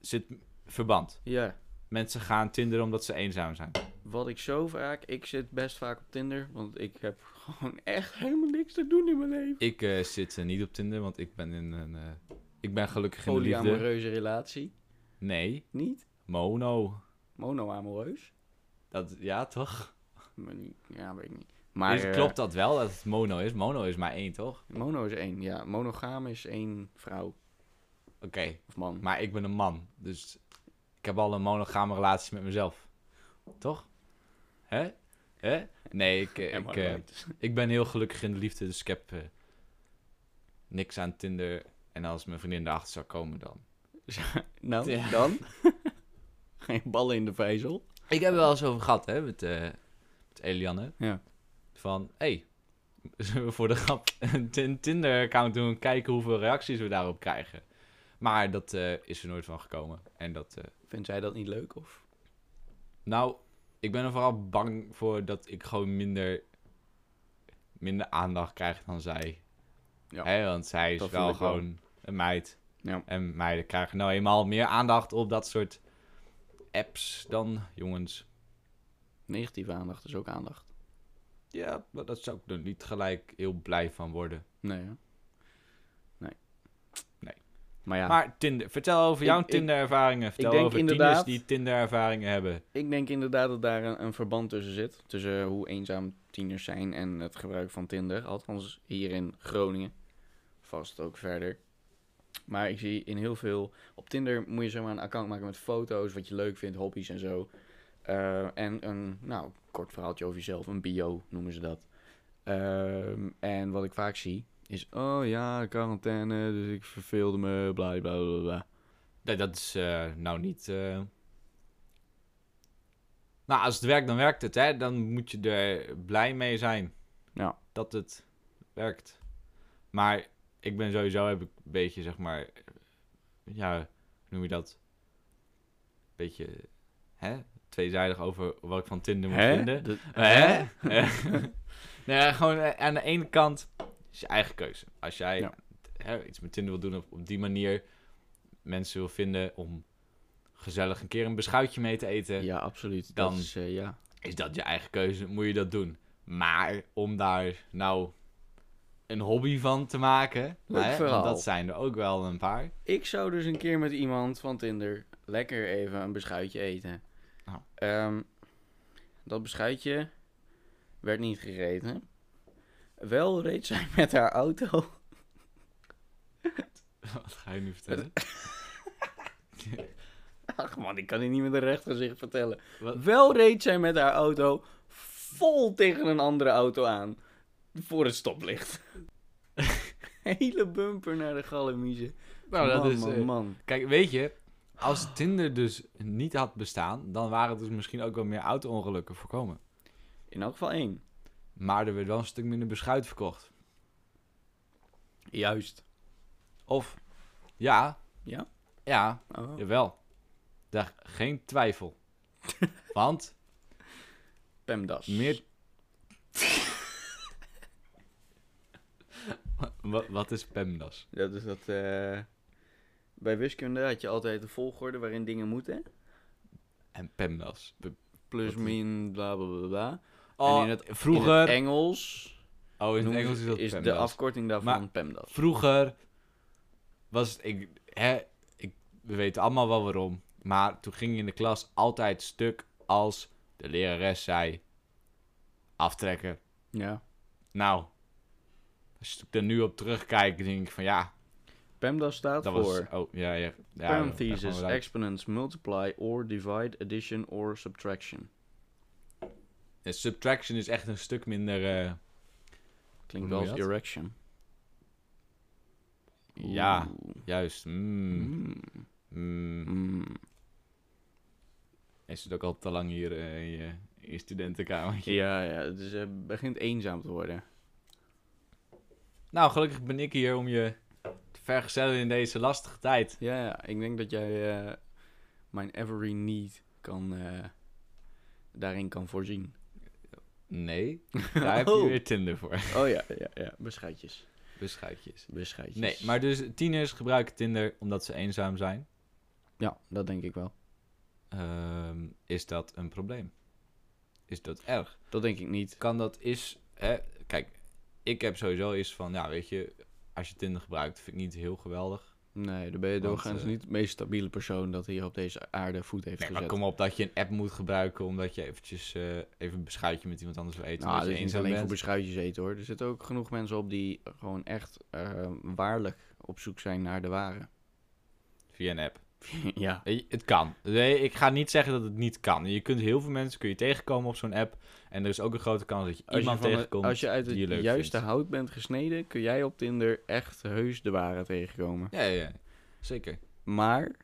Speaker 2: zit verband.
Speaker 1: Ja,
Speaker 2: Mensen gaan tinderen omdat ze eenzaam zijn.
Speaker 1: wat ik zo vaak... Ik zit best vaak op Tinder, want ik heb gewoon echt helemaal niks te doen in mijn leven.
Speaker 2: Ik eh, zit eh, niet op Tinder, want ik ben in een... eh, ik ben gelukkig in de liefde.
Speaker 1: Polyamoreuze relatie.
Speaker 2: Nee,
Speaker 1: Niet?
Speaker 2: mono.
Speaker 1: Monoamoreus?
Speaker 2: Dat, ja, toch?
Speaker 1: Maar niet- Ja, weet ik niet. Maar
Speaker 2: Is-
Speaker 1: eh,
Speaker 2: klopt dat wel, dat het mono is? Mono is maar één, toch?
Speaker 1: mono is één, ja. Monogaam is één vrouw
Speaker 2: Oké,
Speaker 1: of man.
Speaker 2: maar ik ben een man, dus ik heb al een monogame relatie met mezelf. Toch? Hè? Hè? Nee, ik, eh,
Speaker 1: Am I
Speaker 2: ik, eh,
Speaker 1: right?
Speaker 2: ik ben heel gelukkig in de liefde, dus ik heb eh, niks aan Tinder. En als mijn vriendin erachter zou komen, dan.
Speaker 1: nou,
Speaker 2: ja.
Speaker 1: dan? Geen ballen in de vijzel.
Speaker 2: Ik heb er wel eens over gehad, hè, met, eh, met Elianne.
Speaker 1: Ja.
Speaker 2: Van, hé, zullen we voor de grap een Tin- Tinder-account doen, kijken hoeveel reacties we daarop krijgen. Maar dat eh, is er nooit van gekomen. En dat. eh,
Speaker 1: Vindt zij dat niet leuk, of?
Speaker 2: Nou, ik ben er vooral bang voor dat ik gewoon minder, minder aandacht krijg dan zij.
Speaker 1: Ja,
Speaker 2: Hè, want zij is
Speaker 1: dat
Speaker 2: wel
Speaker 1: voel ik wel.
Speaker 2: gewoon een meid.
Speaker 1: Ja.
Speaker 2: En meiden krijgen nou eenmaal meer aandacht op dat soort apps dan jongens.
Speaker 1: Negatieve aandacht is ook aandacht.
Speaker 2: Ja, maar dat zou ik er niet gelijk heel blij van worden.
Speaker 1: Nee, hè? Nee.
Speaker 2: Nee.
Speaker 1: Maar ja,
Speaker 2: Maar Tinder, vertel over
Speaker 1: Ik-
Speaker 2: jouw
Speaker 1: ik-
Speaker 2: Tinder-ervaringen. Vertel
Speaker 1: denk
Speaker 2: over
Speaker 1: inderdaad-
Speaker 2: tieners die Tinder-ervaringen hebben.
Speaker 1: ik denk inderdaad dat daar een, een verband tussen zit. Tussen hoe eenzaam tieners zijn en het gebruik van Tinder. Althans, hier in Groningen. Vast ook verder. Maar ik zie in heel veel... Op Tinder moet je zomaar een account maken met foto's, wat je leuk vindt, hobby's en zo. Eh, en een, nou, kort verhaaltje over jezelf. Een bio noemen ze dat. Ehm, en wat ik vaak zie is... Oh ja, quarantaine, dus ik verveelde me, bla bla bla bla.
Speaker 2: Nee, dat is eh, nou niet. eh, Nou, als het werkt, dan werkt het, hè? Dan moet je er blij mee zijn.
Speaker 1: Ja.
Speaker 2: Dat het werkt. Maar ik ben sowieso heb ik een beetje, zeg maar. eh, Ja, hoe noem je dat? Beetje, hè? Tweezijdig over wat ik van Tinder Eh, moet vinden.
Speaker 1: Dat-
Speaker 2: Hè? nee, gewoon eh, aan de ene kant is je eigen keuze. Als jij
Speaker 1: Ja.
Speaker 2: hè, iets met Tinder wil doen op, op die manier mensen wil vinden om gezellig een keer een beschuitje mee te eten.
Speaker 1: Ja, absoluut.
Speaker 2: Dan-
Speaker 1: Dat is, eh, ja.
Speaker 2: Is dat je eigen keuze, moet je dat doen. Maar om daar nou een hobby van te maken,
Speaker 1: Leuk
Speaker 2: hè, want
Speaker 1: verhaal.
Speaker 2: dat zijn er ook wel een paar.
Speaker 1: Ik zou dus een keer met iemand van Tinder lekker even een beschuitje eten.
Speaker 2: Oh.
Speaker 1: Ehm, dat beschuitje werd niet gegeten. Wel reed zij met haar auto.
Speaker 2: Wat ga je nu vertellen?
Speaker 1: Ach man, ik kan dit niet met een recht gezicht vertellen.
Speaker 2: Wat?
Speaker 1: Wel reed zij met haar auto vol tegen een andere auto aan. Voor het stoplicht. Hele bumper naar de gallemiezen.
Speaker 2: Nou, dat
Speaker 1: man,
Speaker 2: is,
Speaker 1: man,
Speaker 2: eh,
Speaker 1: man.
Speaker 2: Kijk, weet je, als Tinder dus niet had bestaan, dan waren er dus misschien ook wel meer auto-ongelukken voorkomen.
Speaker 1: In elk geval één.
Speaker 2: Maar er werd wel een stuk minder beschuit verkocht.
Speaker 1: Juist.
Speaker 2: Of, ja,
Speaker 1: Ja?
Speaker 2: ja,
Speaker 1: Oh.
Speaker 2: jawel. Daar geen twijfel. Want
Speaker 1: Pemdas.
Speaker 2: meer... Wa- Wat is PEMDAS?
Speaker 1: Dat is dat. eh, bij wiskunde had je altijd de volgorde waarin dingen moeten.
Speaker 2: En PEMDAS. P-
Speaker 1: Plus,
Speaker 2: Wat-
Speaker 1: min, bla bla bla. bla.
Speaker 2: Oh,
Speaker 1: in het-
Speaker 2: vroeger...
Speaker 1: In het Engels.
Speaker 2: oh, in het
Speaker 1: noemen
Speaker 2: Engels
Speaker 1: ze-
Speaker 2: is dat
Speaker 1: de
Speaker 2: PEMDAS.
Speaker 1: afkorting daarvan
Speaker 2: Maar-
Speaker 1: PEMDAS.
Speaker 2: Vroeger was het, ik, hè, ik, we weten allemaal wel waarom, maar toen ging je in de klas altijd stuk als de lerares zei, aftrekken.
Speaker 1: Ja.
Speaker 2: Nou, als ik er nu op terugkijk, denk ik van ja,
Speaker 1: PEMDAS staat
Speaker 2: dat
Speaker 1: voor.
Speaker 2: was, oh ja, ja. ja dat
Speaker 1: Parentheses,
Speaker 2: gewoon wel-
Speaker 1: exponents, multiply or divide, addition or subtraction.
Speaker 2: Ja, subtraction is echt een stuk minder, eh,
Speaker 1: Klinkt wel
Speaker 2: Hoe noem
Speaker 1: als
Speaker 2: je dat?
Speaker 1: erection.
Speaker 2: Ja.
Speaker 1: Oeh.
Speaker 2: juist, mm,
Speaker 1: Mm.
Speaker 2: mm.
Speaker 1: Mm.
Speaker 2: Hij zit ook al te lang hier eh, in je, in je studentenkamertje.
Speaker 1: Ja, ja, het is, eh, begint eenzaam te worden.
Speaker 2: Nou, gelukkig ben ik hier om je te vergezellen in deze lastige tijd.
Speaker 1: Ja, ja, ik denk dat jij eh, mijn every need kan, eh, daarin kan voorzien.
Speaker 2: Nee, daar heb je
Speaker 1: Oh.
Speaker 2: weer Tinder voor.
Speaker 1: Oh ja, ja, ja. Beschuitjes.
Speaker 2: Beschuitjes.
Speaker 1: Beschuitjes.
Speaker 2: Nee, maar dus tieners gebruiken Tinder omdat ze eenzaam zijn.
Speaker 1: Ja, dat denk ik wel.
Speaker 2: Ehm, is dat een probleem? Is dat erg?
Speaker 1: Dat denk ik niet.
Speaker 2: Kan dat is... Hè? Kijk, ik heb sowieso eens van, nou weet je, als je Tinder gebruikt, vind ik niet heel geweldig.
Speaker 1: Nee, dan ben je
Speaker 2: Want,
Speaker 1: doorgaans
Speaker 2: eh,
Speaker 1: niet de meest stabiele persoon dat hier op deze aarde voet heeft
Speaker 2: Nee, maar
Speaker 1: gezet.
Speaker 2: kom op dat je een app moet gebruiken omdat je eventjes eh, even een beschuitje met iemand anders wil eten.
Speaker 1: nou,
Speaker 2: omdat
Speaker 1: dat
Speaker 2: je
Speaker 1: is niet
Speaker 2: eenzaam
Speaker 1: alleen voor
Speaker 2: bent.
Speaker 1: beschuitjes eten hoor. Er zitten ook genoeg mensen op die gewoon echt eh, waarlijk op zoek zijn naar de ware.
Speaker 2: Via een app.
Speaker 1: ja.
Speaker 2: Weet je, Eh, Het kan. Nee, ik ga niet zeggen dat het niet kan. Je kunt heel veel mensen kun je tegenkomen op zo'n app. En er is ook een grote kans dat je
Speaker 1: Als je,
Speaker 2: iemand
Speaker 1: van de-
Speaker 2: tegenkomt.
Speaker 1: als je uit het
Speaker 2: die je leuk
Speaker 1: juiste
Speaker 2: vindt.
Speaker 1: hout bent gesneden, kun jij op Tinder echt heus de ware tegenkomen.
Speaker 2: Ja, ja, ja. zeker.
Speaker 1: Maar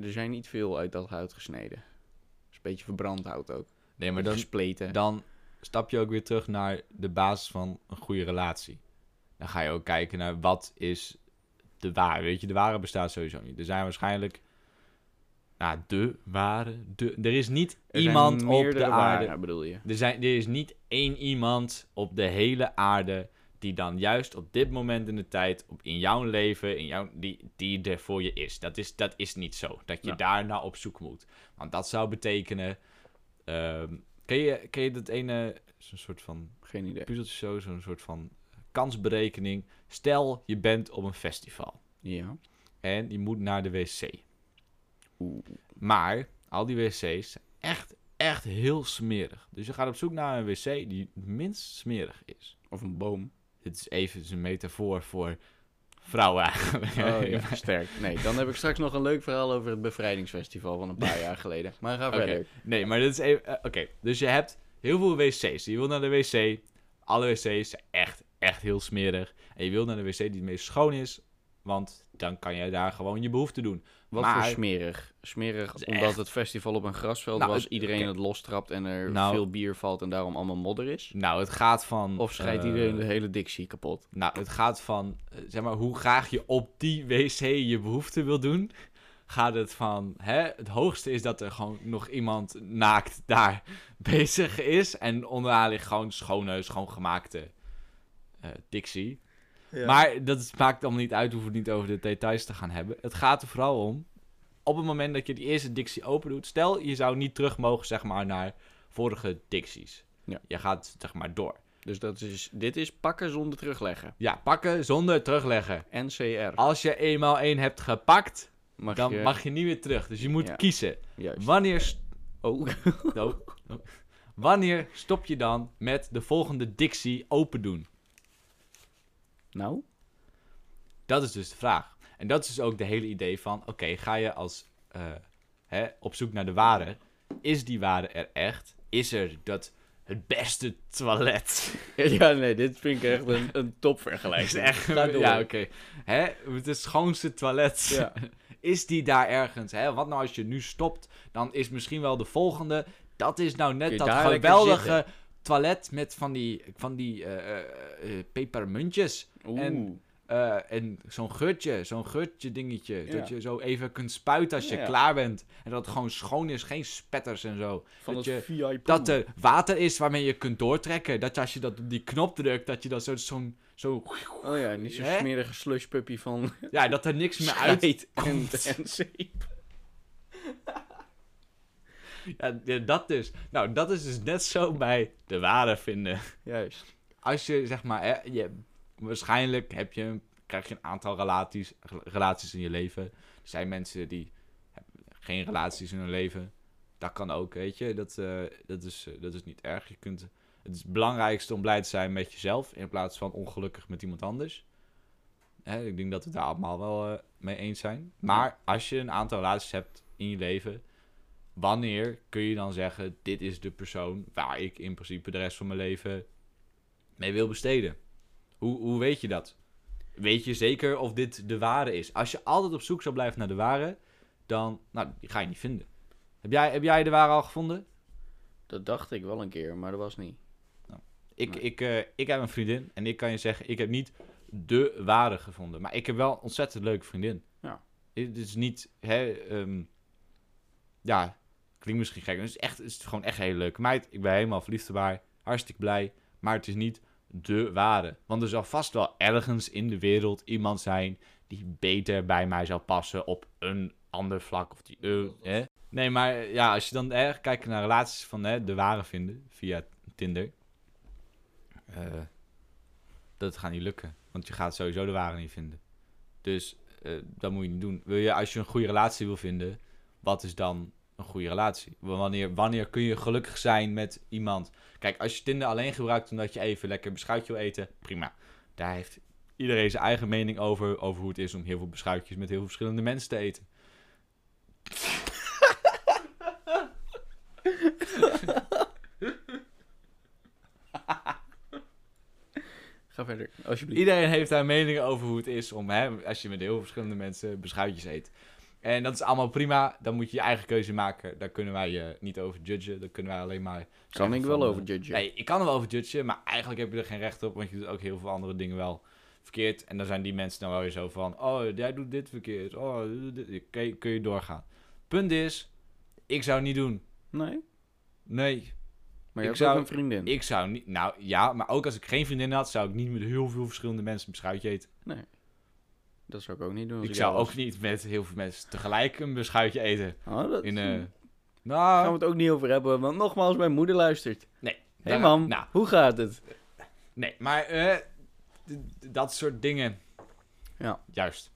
Speaker 1: er zijn niet veel uit dat hout gesneden. Dat is een beetje verbrand hout ook.
Speaker 2: Nee, maar dan,
Speaker 1: Gespleten.
Speaker 2: dan stap je ook weer terug naar de basis van een goede relatie. Dan ga je ook kijken naar wat is de ware. Weet je, de ware bestaat sowieso niet. Er zijn waarschijnlijk... Nou, de ware... De, er is niet
Speaker 1: Er zijn
Speaker 2: iemand op de
Speaker 1: meerdere
Speaker 2: aarde...
Speaker 1: waren, bedoel je?
Speaker 2: Er, zijn, er is niet één iemand op de hele aarde die dan juist op dit moment in de tijd, op, in jouw leven, in jouw, die, die er voor je is. Dat is, dat is niet zo. Dat je
Speaker 1: Ja.
Speaker 2: daar naar op zoek moet. Want dat zou betekenen. ehm, ken, je, ken je dat ene, zo'n soort van
Speaker 1: Geen idee.
Speaker 2: puzzeltje zo, zo'n soort van kansberekening. Stel, je bent op een festival
Speaker 1: Ja.
Speaker 2: en je moet naar de wc.
Speaker 1: Oeh.
Speaker 2: Maar al die wc's zijn echt, echt heel smerig. Dus je gaat op zoek naar een wc die het minst smerig is.
Speaker 1: Of een boom.
Speaker 2: Dit is even een metafoor voor vrouwen eigenlijk.
Speaker 1: Oh ja, sterk. Nee, dan heb ik straks nog een leuk verhaal over het bevrijdingsfestival van een paar jaar geleden. Maar ga
Speaker 2: Oké.
Speaker 1: verder.
Speaker 2: Nee, maar dit is even... eh, Oké, dus je hebt heel veel wc's. Je wil naar de wc. Alle wc's zijn echt, echt heel smerig. En je wil naar de wc die het meest schoon is. Want dan kan jij daar gewoon je behoefte doen.
Speaker 1: Wat
Speaker 2: Maar-
Speaker 1: voor smerig? Smerig
Speaker 2: is
Speaker 1: omdat
Speaker 2: echt-
Speaker 1: het festival op een grasveld
Speaker 2: Nou,
Speaker 1: was,
Speaker 2: het-
Speaker 1: iedereen
Speaker 2: oké.
Speaker 1: het lostrapt en er
Speaker 2: Nou-
Speaker 1: veel bier valt en daarom allemaal modder is?
Speaker 2: Nou, het gaat van...
Speaker 1: Of scheidt
Speaker 2: eh,
Speaker 1: iedereen de hele dictie kapot?
Speaker 2: Nou, het gaat van, eh, zeg maar, hoe graag je op die wc je behoefte wil doen. Gaat het van, hè, het hoogste is dat er gewoon nog iemand naakt daar bezig is. En onderaan ligt gewoon schone, schoongemaakte eh Dixie. Maar dat is- maakt allemaal niet uit, hoeven we het niet over de details te gaan hebben. Het gaat er vooral om op het moment dat je die eerste dictie open doet, stel je zou niet terug mogen zeg maar, naar vorige dicties.
Speaker 1: Ja.
Speaker 2: Je gaat zeg maar door.
Speaker 1: Dus dat is, dit is pakken zonder terugleggen.
Speaker 2: Ja, pakken zonder terugleggen.
Speaker 1: NCR.
Speaker 2: Als je eenmaal één hebt gepakt,
Speaker 1: Mag
Speaker 2: Ah, dan
Speaker 1: je...
Speaker 2: mag je niet meer terug. Dus je moet
Speaker 1: Ja.
Speaker 2: kiezen.
Speaker 1: Juist.
Speaker 2: Wanneer, st-
Speaker 1: Oh,
Speaker 2: Oh. wanneer stop je dan met de volgende dictie open doen?
Speaker 1: nou?
Speaker 2: Dat is dus de vraag. En dat is dus ook de hele idee van, oké, ga je als eh, hè, op zoek naar de ware. Is die ware er echt? Is er dat het beste toilet?
Speaker 1: Ja, nee, dit vind ik echt een, een
Speaker 2: is
Speaker 1: topvergelijking.
Speaker 2: echt.
Speaker 1: Ga door.
Speaker 2: Ja, oké. Hè, Het schoonste toilet.
Speaker 1: Ja.
Speaker 2: Is die daar ergens? Hè? Wat nou als je nu stopt? Dan is misschien wel de volgende. Dat is nou
Speaker 1: Kun
Speaker 2: net
Speaker 1: je
Speaker 2: dat
Speaker 1: daar lekker
Speaker 2: geweldige toilet met van die, van die eh, eh, eh, pepermuntjes.
Speaker 1: Oeh.
Speaker 2: En- Eh, en zo'n geurtje, zo'n geurtje dingetje.
Speaker 1: Ja.
Speaker 2: Dat je zo even kunt spuiten als je
Speaker 1: Ja.
Speaker 2: klaar bent. En dat het gewoon schoon is, geen spetters en zo.
Speaker 1: van
Speaker 2: dat
Speaker 1: het
Speaker 2: je-
Speaker 1: VIP.
Speaker 2: Dat eh, er water is waarmee je kunt doortrekken. Dat je als je dat op die knop drukt, dat je dan zo- zo'n... Zo,
Speaker 1: Oh ja, niet zo'n
Speaker 2: Hè?
Speaker 1: smerige slushpuppy van
Speaker 2: ja, dat er niks meer uit...
Speaker 1: schijt en, en zeep.
Speaker 2: Ja, ja, dat dus. Nou, dat is dus net zo bij de ware vinden.
Speaker 1: Juist.
Speaker 2: Als je, zeg maar... Hè, je, waarschijnlijk heb je, krijg je een aantal relaties, relaties in je leven. Er zijn mensen die hebben geen relaties in hun leven. Dat kan ook, weet je. Dat, eh, dat, is, eh, dat is niet erg. Je kunt, het is het belangrijkste om blij te zijn met jezelf... in plaats van ongelukkig met iemand anders. Hè, ik denk dat we daar allemaal wel eh, mee eens zijn. Maar als je een aantal relaties hebt in je leven... wanneer kun je dan zeggen... dit is de persoon waar ik in principe de rest van mijn leven mee wil besteden? Hoe, hoe weet je dat? Weet je zeker of dit de ware is? Als je altijd op zoek zou blijven naar de ware... dan nou, die ga je niet vinden. Heb jij, heb jij de ware al gevonden?
Speaker 1: Dat dacht ik wel een keer, maar dat was niet.
Speaker 2: Ik,
Speaker 1: Nee.
Speaker 2: ik, eh, ik heb een vriendin en ik kan je zeggen, ik heb niet de ware gevonden. Maar ik heb wel een ontzettend leuke vriendin.
Speaker 1: Ja.
Speaker 2: Het is niet, hè, ehm, ja, klinkt misschien gek. maar Het is, echt, het is gewoon echt een hele leuke meid. Ik ben helemaal verliefd op haar. Hartstikke blij. Maar het is niet de ware. Want er zal vast wel ergens in de wereld iemand zijn die beter bij mij zou passen op een ander vlak. Of die, eh, hè. Nee, maar eh, ja, als je dan erg kijkt naar relaties van hè, de ware vinden via Tinder. Eh, dat gaat niet lukken. Want je gaat sowieso de ware niet vinden. Dus eh, dat moet je niet doen. Wil je, als je een goede relatie wil vinden, wat is dan een goede relatie? Wanneer, wanneer kun je gelukkig zijn met iemand? Kijk, als je Tinder alleen gebruikt omdat je even lekker beschuitje wil eten, prima. Daar heeft iedereen zijn eigen mening over, over hoe het is om heel veel beschuitjes met heel veel verschillende mensen te eten.
Speaker 1: Ga verder, alsjeblieft.
Speaker 2: Iedereen heeft daar meningen over hoe het is om, hè, als je met heel veel verschillende mensen beschuitjes eet. En dat is allemaal prima, dan moet je je eigen keuze maken. Daar kunnen wij je niet over judgen, daar kunnen wij alleen maar...
Speaker 1: Kan
Speaker 2: zeggen
Speaker 1: ik wel
Speaker 2: van,
Speaker 1: over
Speaker 2: eh,
Speaker 1: judgen?
Speaker 2: Nee, ik kan er wel over judgen, maar eigenlijk heb je er geen recht op, want je doet ook heel veel andere dingen wel verkeerd. En dan zijn die mensen dan wel weer zo van, oh, jij doet dit verkeerd, oh, dit. Kun, je, kun je doorgaan. Punt is, ik zou het niet doen.
Speaker 1: Nee?
Speaker 2: Nee,
Speaker 1: Maar je hebt
Speaker 2: Ik
Speaker 1: ook
Speaker 2: zou-
Speaker 1: een vriendin.
Speaker 2: ik zou niet... Nou, ja, maar ook als ik geen vriendin had, zou ik niet met heel veel verschillende mensen een beschuitje eten.
Speaker 1: Dat zou ik ook niet doen. als
Speaker 2: Ik zou
Speaker 1: jou
Speaker 2: ook niet met heel veel mensen tegelijk een beschuitje eten.
Speaker 1: was. Oh, dat...
Speaker 2: In, eh
Speaker 1: Daar gaan we
Speaker 2: nou,
Speaker 1: het ook niet over hebben, want nogmaals, mijn moeder luistert.
Speaker 2: nee.
Speaker 1: Hé
Speaker 2: Daar-
Speaker 1: mam,
Speaker 2: Nou,
Speaker 1: hoe gaat het?
Speaker 2: nee, maar eh, d- d- dat soort dingen.
Speaker 1: Ja.
Speaker 2: Juist.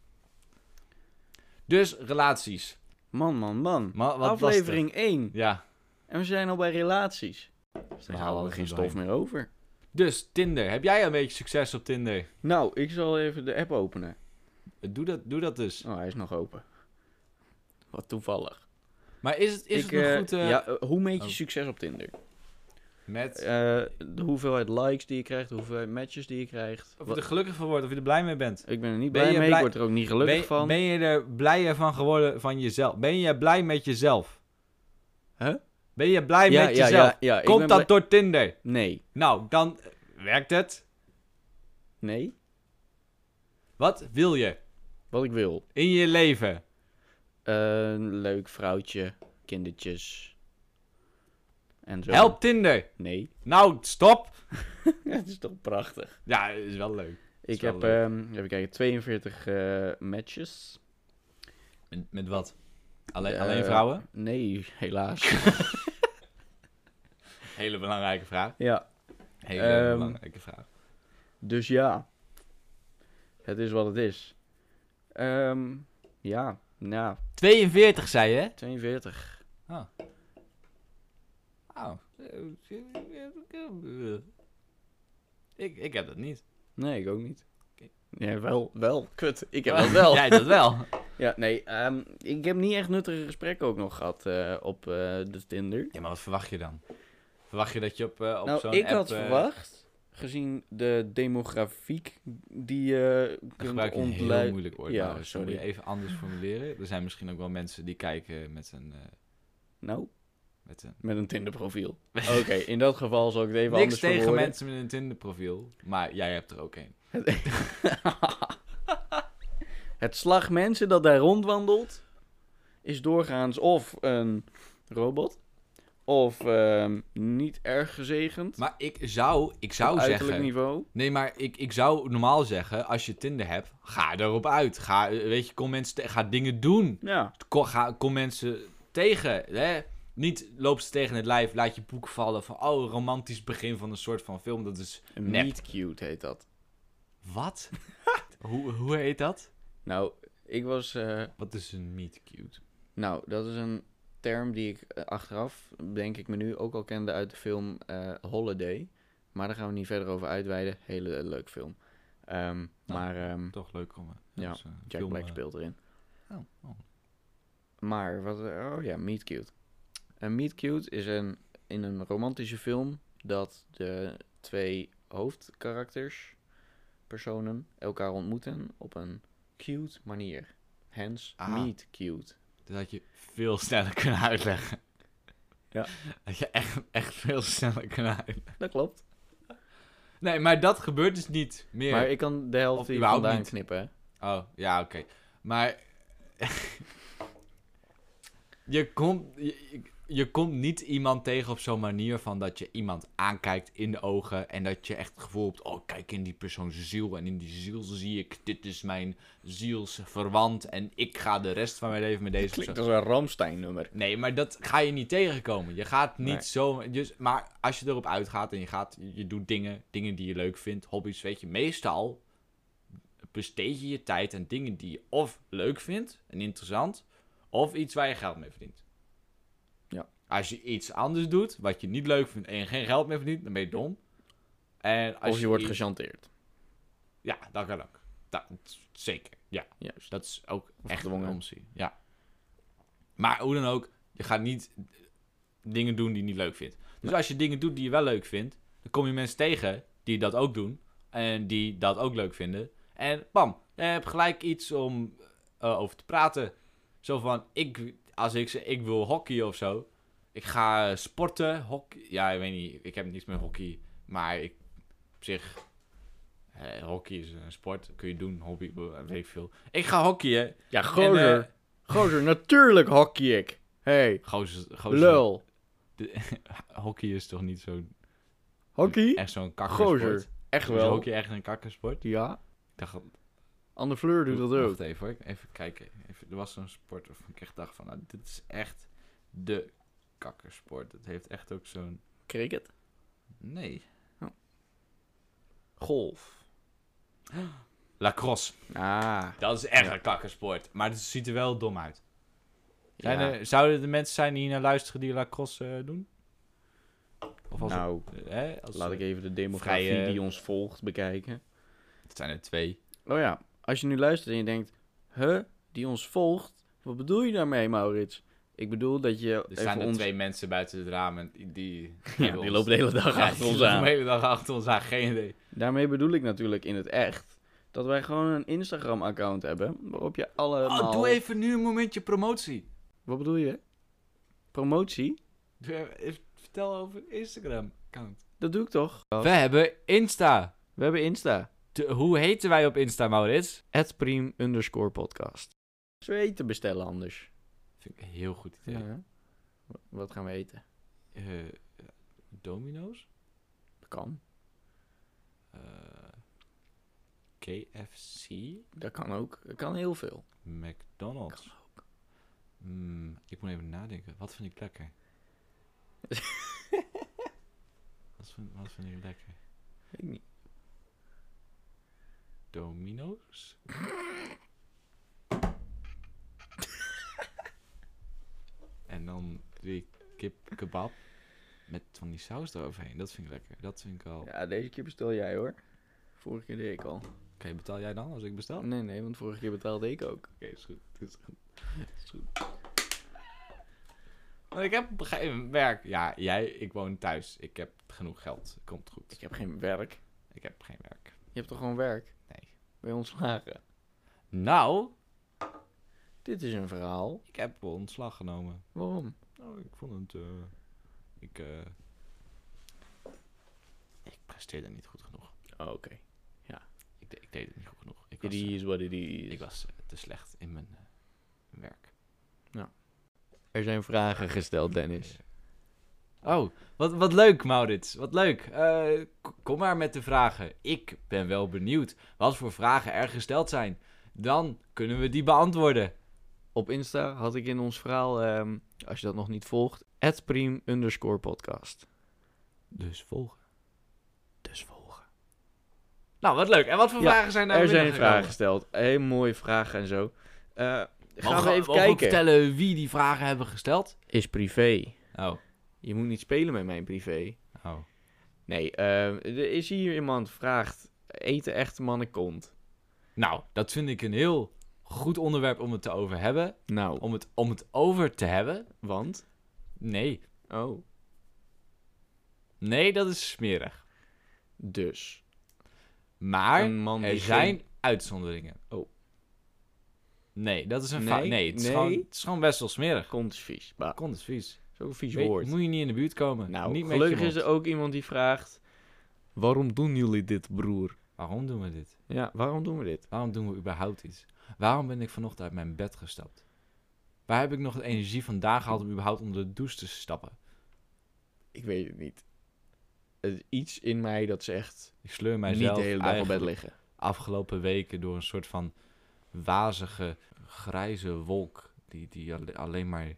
Speaker 2: Dus relaties.
Speaker 1: Man, man, man.
Speaker 2: Ma wat
Speaker 1: Aflevering 1.
Speaker 2: lastig. Ja.
Speaker 1: En we zijn al bij relaties. Dus
Speaker 2: We
Speaker 1: daar
Speaker 2: halen
Speaker 1: halen we
Speaker 2: er
Speaker 1: geen
Speaker 2: doorheen.
Speaker 1: stof meer over.
Speaker 2: Dus Tinder. Heb jij een beetje succes op Tinder?
Speaker 1: Nou, ik zal even de app openen.
Speaker 2: Doe dat, doe dat dus.
Speaker 1: Oh, hij is nog open. Wat toevallig.
Speaker 2: Maar is het, is
Speaker 1: Ik,
Speaker 2: het nog
Speaker 1: eh,
Speaker 2: goed eh,
Speaker 1: ja, eh, hoe meet je
Speaker 2: oh.
Speaker 1: succes op Tinder?
Speaker 2: met...
Speaker 1: Eh, de hoeveelheid likes die je krijgt, de hoeveelheid matches die je krijgt.
Speaker 2: of je
Speaker 1: Wat-
Speaker 2: er gelukkig van wordt, of je er blij mee bent.
Speaker 1: Ik ben er niet
Speaker 2: Ben
Speaker 1: blij
Speaker 2: je
Speaker 1: mee,
Speaker 2: blij-
Speaker 1: ik word er ook niet gelukkig
Speaker 2: ben,
Speaker 1: van.
Speaker 2: Ben je er blijer van geworden van jezelf? Ben je blij met jezelf?
Speaker 1: Huh?
Speaker 2: Ben je blij
Speaker 1: ja,
Speaker 2: met
Speaker 1: ja,
Speaker 2: jezelf?
Speaker 1: ja, ja, ik ben
Speaker 2: Komt
Speaker 1: blij-
Speaker 2: dat door Tinder?
Speaker 1: Nee,
Speaker 2: Nou, dan eh, werkt het.
Speaker 1: nee.
Speaker 2: Wat wil je
Speaker 1: Wat ik wil.
Speaker 2: in je leven?
Speaker 1: Eh, Een leuk vrouwtje, kindertjes. En zo.
Speaker 2: Help Tinder.
Speaker 1: Nee.
Speaker 2: Nou, stop.
Speaker 1: Het is toch prachtig.
Speaker 2: Ja, is wel leuk.
Speaker 1: Ik
Speaker 2: wel
Speaker 1: heb,
Speaker 2: leuk.
Speaker 1: ehm, even kijken, 42 eh, matches.
Speaker 2: Met, wat? Alleen,
Speaker 1: Eh,
Speaker 2: alleen vrouwen?
Speaker 1: Nee, helaas.
Speaker 2: Hele belangrijke vraag.
Speaker 1: ja,
Speaker 2: Hele
Speaker 1: Ehm,
Speaker 2: belangrijke vraag.
Speaker 1: dus ja. Het is wat het is. Ehm, ja, nou,
Speaker 2: 42 zei je, hè?
Speaker 1: 42.
Speaker 2: Oh. Ik, ik heb dat niet.
Speaker 1: Nee, ik ook niet.
Speaker 2: Oké.
Speaker 1: Ja, wel, wel. Kut, ik heb dat wel.
Speaker 2: Jij dat wel.
Speaker 1: Ja, nee, ehm, ik heb niet echt nuttige gesprekken ook nog gehad eh, op eh, de Tinder.
Speaker 2: Ja, maar wat verwacht je dan? Verwacht je dat je op, eh, op zo'n
Speaker 1: nou, ik
Speaker 2: app,
Speaker 1: had
Speaker 2: eh,
Speaker 1: verwacht, gezien de demografiek die je
Speaker 2: Dan
Speaker 1: kunt
Speaker 2: gebruik je een heel
Speaker 1: ontleiden.
Speaker 2: moeilijk woord.
Speaker 1: Ja,
Speaker 2: Ja, nou, sorry.
Speaker 1: sorry.
Speaker 2: Moet je even anders formuleren. Er zijn misschien ook wel mensen die kijken met een... eh,
Speaker 1: Nou,
Speaker 2: met een...
Speaker 1: met een Tinder profiel. Oké, in dat geval zal ik het even
Speaker 2: Niks
Speaker 1: anders
Speaker 2: tegen
Speaker 1: verwoorden.
Speaker 2: mensen met een Tinder profiel. Maar jij hebt er ook een.
Speaker 1: Het slag mensen dat daar rondwandelt is doorgaans of een robot of ehm, niet erg gezegend.
Speaker 2: Maar ik zou, ik
Speaker 1: op
Speaker 2: zou
Speaker 1: uiterlijk
Speaker 2: zeggen...
Speaker 1: niveau.
Speaker 2: Nee, maar ik, ik zou normaal zeggen, als je Tinder hebt, ga erop uit. Ga, eh, weet je, kom mensen, te- ga dingen doen.
Speaker 1: Ja.
Speaker 2: Kom, ga, kom mensen tegen, hè. Niet loop ze tegen het lijf, laat je boek vallen van, oh, romantisch begin van een soort van film. Dat is,
Speaker 1: Een
Speaker 2: Nep.
Speaker 1: meet cute heet dat.
Speaker 2: wat? hoe, hoe heet dat?
Speaker 1: Nou, ik was. eh,
Speaker 2: Wat is een meet cute?
Speaker 1: nou, dat is een term die ik eh, achteraf, denk ik me nu, ook al kende uit de film eh, Holiday. Maar daar gaan we niet verder over uitweiden. Hele eh, leuk film. Ehm, maar ehm,
Speaker 2: Toch leuk om... eh,
Speaker 1: Ja,
Speaker 2: als, eh,
Speaker 1: Jack
Speaker 2: Nou, film,
Speaker 1: Black
Speaker 2: eh,
Speaker 1: speelt erin.
Speaker 2: oh, oh.
Speaker 1: Maar wat. eh, oh ja, meet cute. Een meet cute is een, in een romantische film dat de twee hoofdkarakters, personen, elkaar ontmoeten op een cute manier. Hence,
Speaker 2: Ah.
Speaker 1: meet cute.
Speaker 2: Dat had je veel sneller kunnen uitleggen.
Speaker 1: Ja.
Speaker 2: Dat je echt, echt veel sneller kunnen uitleggen.
Speaker 1: Dat klopt.
Speaker 2: Nee, maar dat gebeurt dus niet meer.
Speaker 1: Maar ik kan de helft
Speaker 2: Of
Speaker 1: hier
Speaker 2: überhaupt
Speaker 1: vandaan
Speaker 2: niet.
Speaker 1: knippen. hè?
Speaker 2: Oh, ja, oké. Maar je, komt, je, je komt niet iemand tegen op zo'n manier van dat je iemand aankijkt in de ogen en dat je echt het gevoel hebt, oh, kijk in die persoons ziel en in die ziel zie ik, dit is mijn zielsverwant en ik ga de rest van mijn leven met deze persoon.
Speaker 1: Klinkt als een Ramstein-nummer.
Speaker 2: Nee, maar dat ga je niet tegenkomen. Je gaat niet
Speaker 1: Nee.
Speaker 2: zo. Dus, maar als je erop uitgaat en je, gaat, je doet dingen, dingen die je leuk vindt, hobby's, weet je, meestal besteed je je tijd aan dingen die je of leuk vindt en interessant, of iets waar je geld mee verdient.
Speaker 1: Ja.
Speaker 2: Als je iets anders doet wat je niet leuk vindt en je geen geld mee verdient, dan ben je dom. En als
Speaker 1: Of je wordt
Speaker 2: iets-
Speaker 1: gechanteerd.
Speaker 2: Ja, dat kan ook. Dat, zeker, ja.
Speaker 1: Juist.
Speaker 2: Dat is ook
Speaker 1: Of
Speaker 2: echt
Speaker 1: gedwongen.
Speaker 2: een omzien. Ja. Maar hoe dan ook, je gaat niet dingen doen die je niet leuk vindt. Dus als je dingen doet die je wel leuk vindt, dan kom je mensen tegen die dat ook doen. En die dat ook leuk vinden. En bam, je hebt gelijk iets om eh, over te praten. Zo van, ik, als ik zeg, ik wil hockey of zo. Ik ga eh, sporten, hockey. Ja, ik weet niet, ik heb niets met hockey. Maar ik, op zich, eh, hockey is een sport. Kun je doen, hobby, eh, weet ik veel. Ik ga hockeyen.
Speaker 1: Ja,
Speaker 2: En,
Speaker 1: gozer.
Speaker 2: eh,
Speaker 1: Gozer, natuurlijk hockey ik. hey,
Speaker 2: Gozer, gozer-
Speaker 1: lul.
Speaker 2: Hockey is toch niet zo'n...
Speaker 1: Hockey?
Speaker 2: Echt zo'n
Speaker 1: Gozer.
Speaker 2: kakkersport?
Speaker 1: Echt
Speaker 2: Is
Speaker 1: wel.
Speaker 2: hockey echt een kakkersport?
Speaker 1: Ja.
Speaker 2: Ik dacht, dat-
Speaker 1: Anne Fleur doet dat ook.
Speaker 2: Wacht even hoor, even kijken. Even, er was zo'n sport waarvan ik echt dacht van, nou, dit is echt de kakkersport. Het heeft echt ook zo'n...
Speaker 1: Cricket?
Speaker 2: Nee.
Speaker 1: Golf.
Speaker 2: Lacrosse.
Speaker 1: Ah.
Speaker 2: Dat is echt
Speaker 1: Ja.
Speaker 2: een kakkersport. Maar het ziet er wel dom uit.
Speaker 1: Ja.
Speaker 2: Zijn er- zouden er mensen zijn die hier naar luisteren die lacrosse eh, doen? Of als
Speaker 1: nou,
Speaker 2: hè, als,
Speaker 1: laat ik even de demografie
Speaker 2: vrije-
Speaker 1: die ons volgt bekijken.
Speaker 2: Het zijn er twee.
Speaker 1: Oh ja, als je nu luistert en je denkt... Huh, die ons volgt? Wat bedoel je daarmee, Maurits? Ik bedoel dat je
Speaker 2: Er
Speaker 1: even
Speaker 2: staan er
Speaker 1: ons...
Speaker 2: twee mensen buiten het raam en die... die
Speaker 1: Ja, die lopen de hele dag achter ons aan.
Speaker 2: De hele dag achter ons aan, geen idee.
Speaker 1: Daarmee bedoel ik natuurlijk in het echt dat wij gewoon een Instagram-account hebben waarop je allemaal...
Speaker 2: Oh, doe even nu een momentje promotie.
Speaker 1: Wat bedoel je? Promotie?
Speaker 2: Doe even- even- Vertel over Instagram-account.
Speaker 1: Dat doe ik toch?
Speaker 2: We hebben Insta.
Speaker 1: We hebben Insta.
Speaker 2: De- hoe heten wij op Insta, Maurits?
Speaker 1: Priem underscore podcast. Zo eten bestellen anders.
Speaker 2: Vind ik een heel goed idee.
Speaker 1: Ja. Wat gaan we eten?
Speaker 2: Eh, Domino's?
Speaker 1: Dat kan.
Speaker 2: Eh, KFC?
Speaker 1: Dat kan ook. Dat kan heel veel.
Speaker 2: McDonald's? Hmm, ik moet even nadenken. Wat vind ik lekker? wat, vind, wat vind ik lekker?
Speaker 1: Weet ik niet.
Speaker 2: Domino's? en dan die kip kebab met van die saus eroverheen. Dat vind ik lekker. Dat vind ik al.
Speaker 1: Ja, deze keer bestel jij hoor. Oh. Vorige keer deed ik al.
Speaker 2: Oké, betaal jij dan als ik bestel? Oké,
Speaker 1: Nee, nee, want vorige keer betaalde ik ook.
Speaker 2: is goed. Is goed. Is goed. Want ik heb op een gegeven moment werk. Ja, jij, ik woon thuis. Ik heb genoeg geld. Komt goed.
Speaker 1: Ik heb geen werk.
Speaker 2: Ik heb geen werk.
Speaker 1: Je hebt toch gewoon werk?
Speaker 2: Nee.
Speaker 1: Bij ons ontslagen.
Speaker 2: Nou,
Speaker 1: Dit is een verhaal.
Speaker 2: ik heb wel ontslag genomen.
Speaker 1: Waarom?
Speaker 2: Nou, ik vond het. eh, ik. eh, ik presteerde niet goed genoeg.
Speaker 1: Oh, Oké.
Speaker 2: Ik, de- ik deed het niet goed genoeg. Ik
Speaker 1: It
Speaker 2: was, eh,
Speaker 1: is what it is.
Speaker 2: ik was eh, te slecht in mijn eh, werk.
Speaker 1: Er zijn vragen gesteld, Dennis.
Speaker 2: Oh, wat, wat leuk, Maurits. Wat leuk. Eh, k- kom maar met de vragen. Ik ben wel benieuwd wat voor vragen er gesteld zijn. Dan kunnen we die beantwoorden.
Speaker 1: Op Insta had ik in ons verhaal, ehm, als je dat nog niet volgt, @prim_podcast.
Speaker 2: Dus volgen.
Speaker 1: Dus volgen.
Speaker 2: Nou, wat leuk. En wat voor
Speaker 1: Ja,
Speaker 2: vragen zijn daar
Speaker 1: er
Speaker 2: binnen
Speaker 1: zijn
Speaker 2: gekomen?
Speaker 1: vragen gesteld. Heel mooie vragen en zo. Eh, gaan
Speaker 2: Mogen
Speaker 1: we even
Speaker 2: mogen
Speaker 1: kijken.
Speaker 2: vertellen wie die vragen hebben gesteld?
Speaker 1: Is privé.
Speaker 2: Oh.
Speaker 1: Je moet niet spelen met mijn privé.
Speaker 2: oh.
Speaker 1: Nee, ehm, er is hier iemand vraagt: eten echte mannen kont?
Speaker 2: Nou, dat vind ik een heel goed onderwerp om het te over hebben.
Speaker 1: Nou,
Speaker 2: Om het, om het over te hebben?
Speaker 1: want?
Speaker 2: Nee.
Speaker 1: Oh,
Speaker 2: Nee, dat is smerig.
Speaker 1: dus.
Speaker 2: Maar
Speaker 1: een man
Speaker 2: er
Speaker 1: die
Speaker 2: zijn
Speaker 1: geen-
Speaker 2: uitzonderingen.
Speaker 1: Oh.
Speaker 2: Nee, dat is een
Speaker 1: Nee,
Speaker 2: fout. Nee, het is,
Speaker 1: nee.
Speaker 2: Gewoon, het is gewoon best wel smerig.
Speaker 1: Kont is vies. Bah,
Speaker 2: Kont is vies.
Speaker 1: Zo'n vies
Speaker 2: Weet-
Speaker 1: woord.
Speaker 2: moet je niet in de buurt komen.
Speaker 1: Nou,
Speaker 2: niet
Speaker 1: gelukkig
Speaker 2: met je
Speaker 1: is
Speaker 2: mond.
Speaker 1: er ook iemand die vraagt: Waarom doen jullie dit, broer?
Speaker 2: Waarom doen we dit?
Speaker 1: Ja, waarom doen we dit?
Speaker 2: Waarom doen we überhaupt iets? Waarom ben ik vanochtend uit mijn bed gestapt? Waar heb ik nog de energie vandaan gehaald om überhaupt onder de douche te stappen?
Speaker 1: Ik weet het niet. Het is iets in mij dat zegt:
Speaker 2: Ik sleur mijzelf
Speaker 1: Niet de hele dag op bed
Speaker 2: eigenlijk
Speaker 1: liggen.
Speaker 2: afgelopen weken door een soort van wazige, grijze wolk. Die, die alle- alleen maar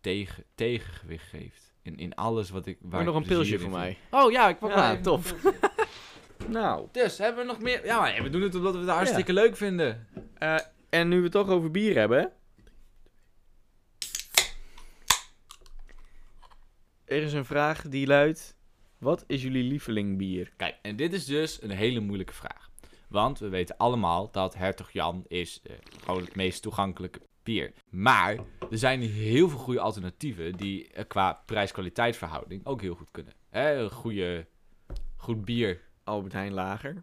Speaker 2: tegen, tegengewicht geeft. In, in alles wat ik. Waar
Speaker 1: Maar nog
Speaker 2: ik
Speaker 1: een
Speaker 2: plezier
Speaker 1: pilsje
Speaker 2: in
Speaker 1: voor
Speaker 2: vind.
Speaker 1: mij.
Speaker 2: Oh ja, ik pak maar
Speaker 1: Ja,
Speaker 2: even.
Speaker 1: tof. nou,
Speaker 2: Dus hebben we nog meer. Ja, maar we doen het omdat we het hartstikke leuk vinden.
Speaker 1: eh, en nu we het toch over bier hebben. Er is een vraag die luidt: Wat is jullie lieveling bier?
Speaker 2: Kijk, en dit is dus een hele moeilijke vraag. Want we weten allemaal dat Hertog Jan is eh, gewoon het meest toegankelijke bier. Maar er zijn heel veel goede alternatieven die eh, qua prijs-kwaliteit verhouding ook heel goed kunnen. Hè, een goede, goed bier
Speaker 1: Albert Heijn Lager.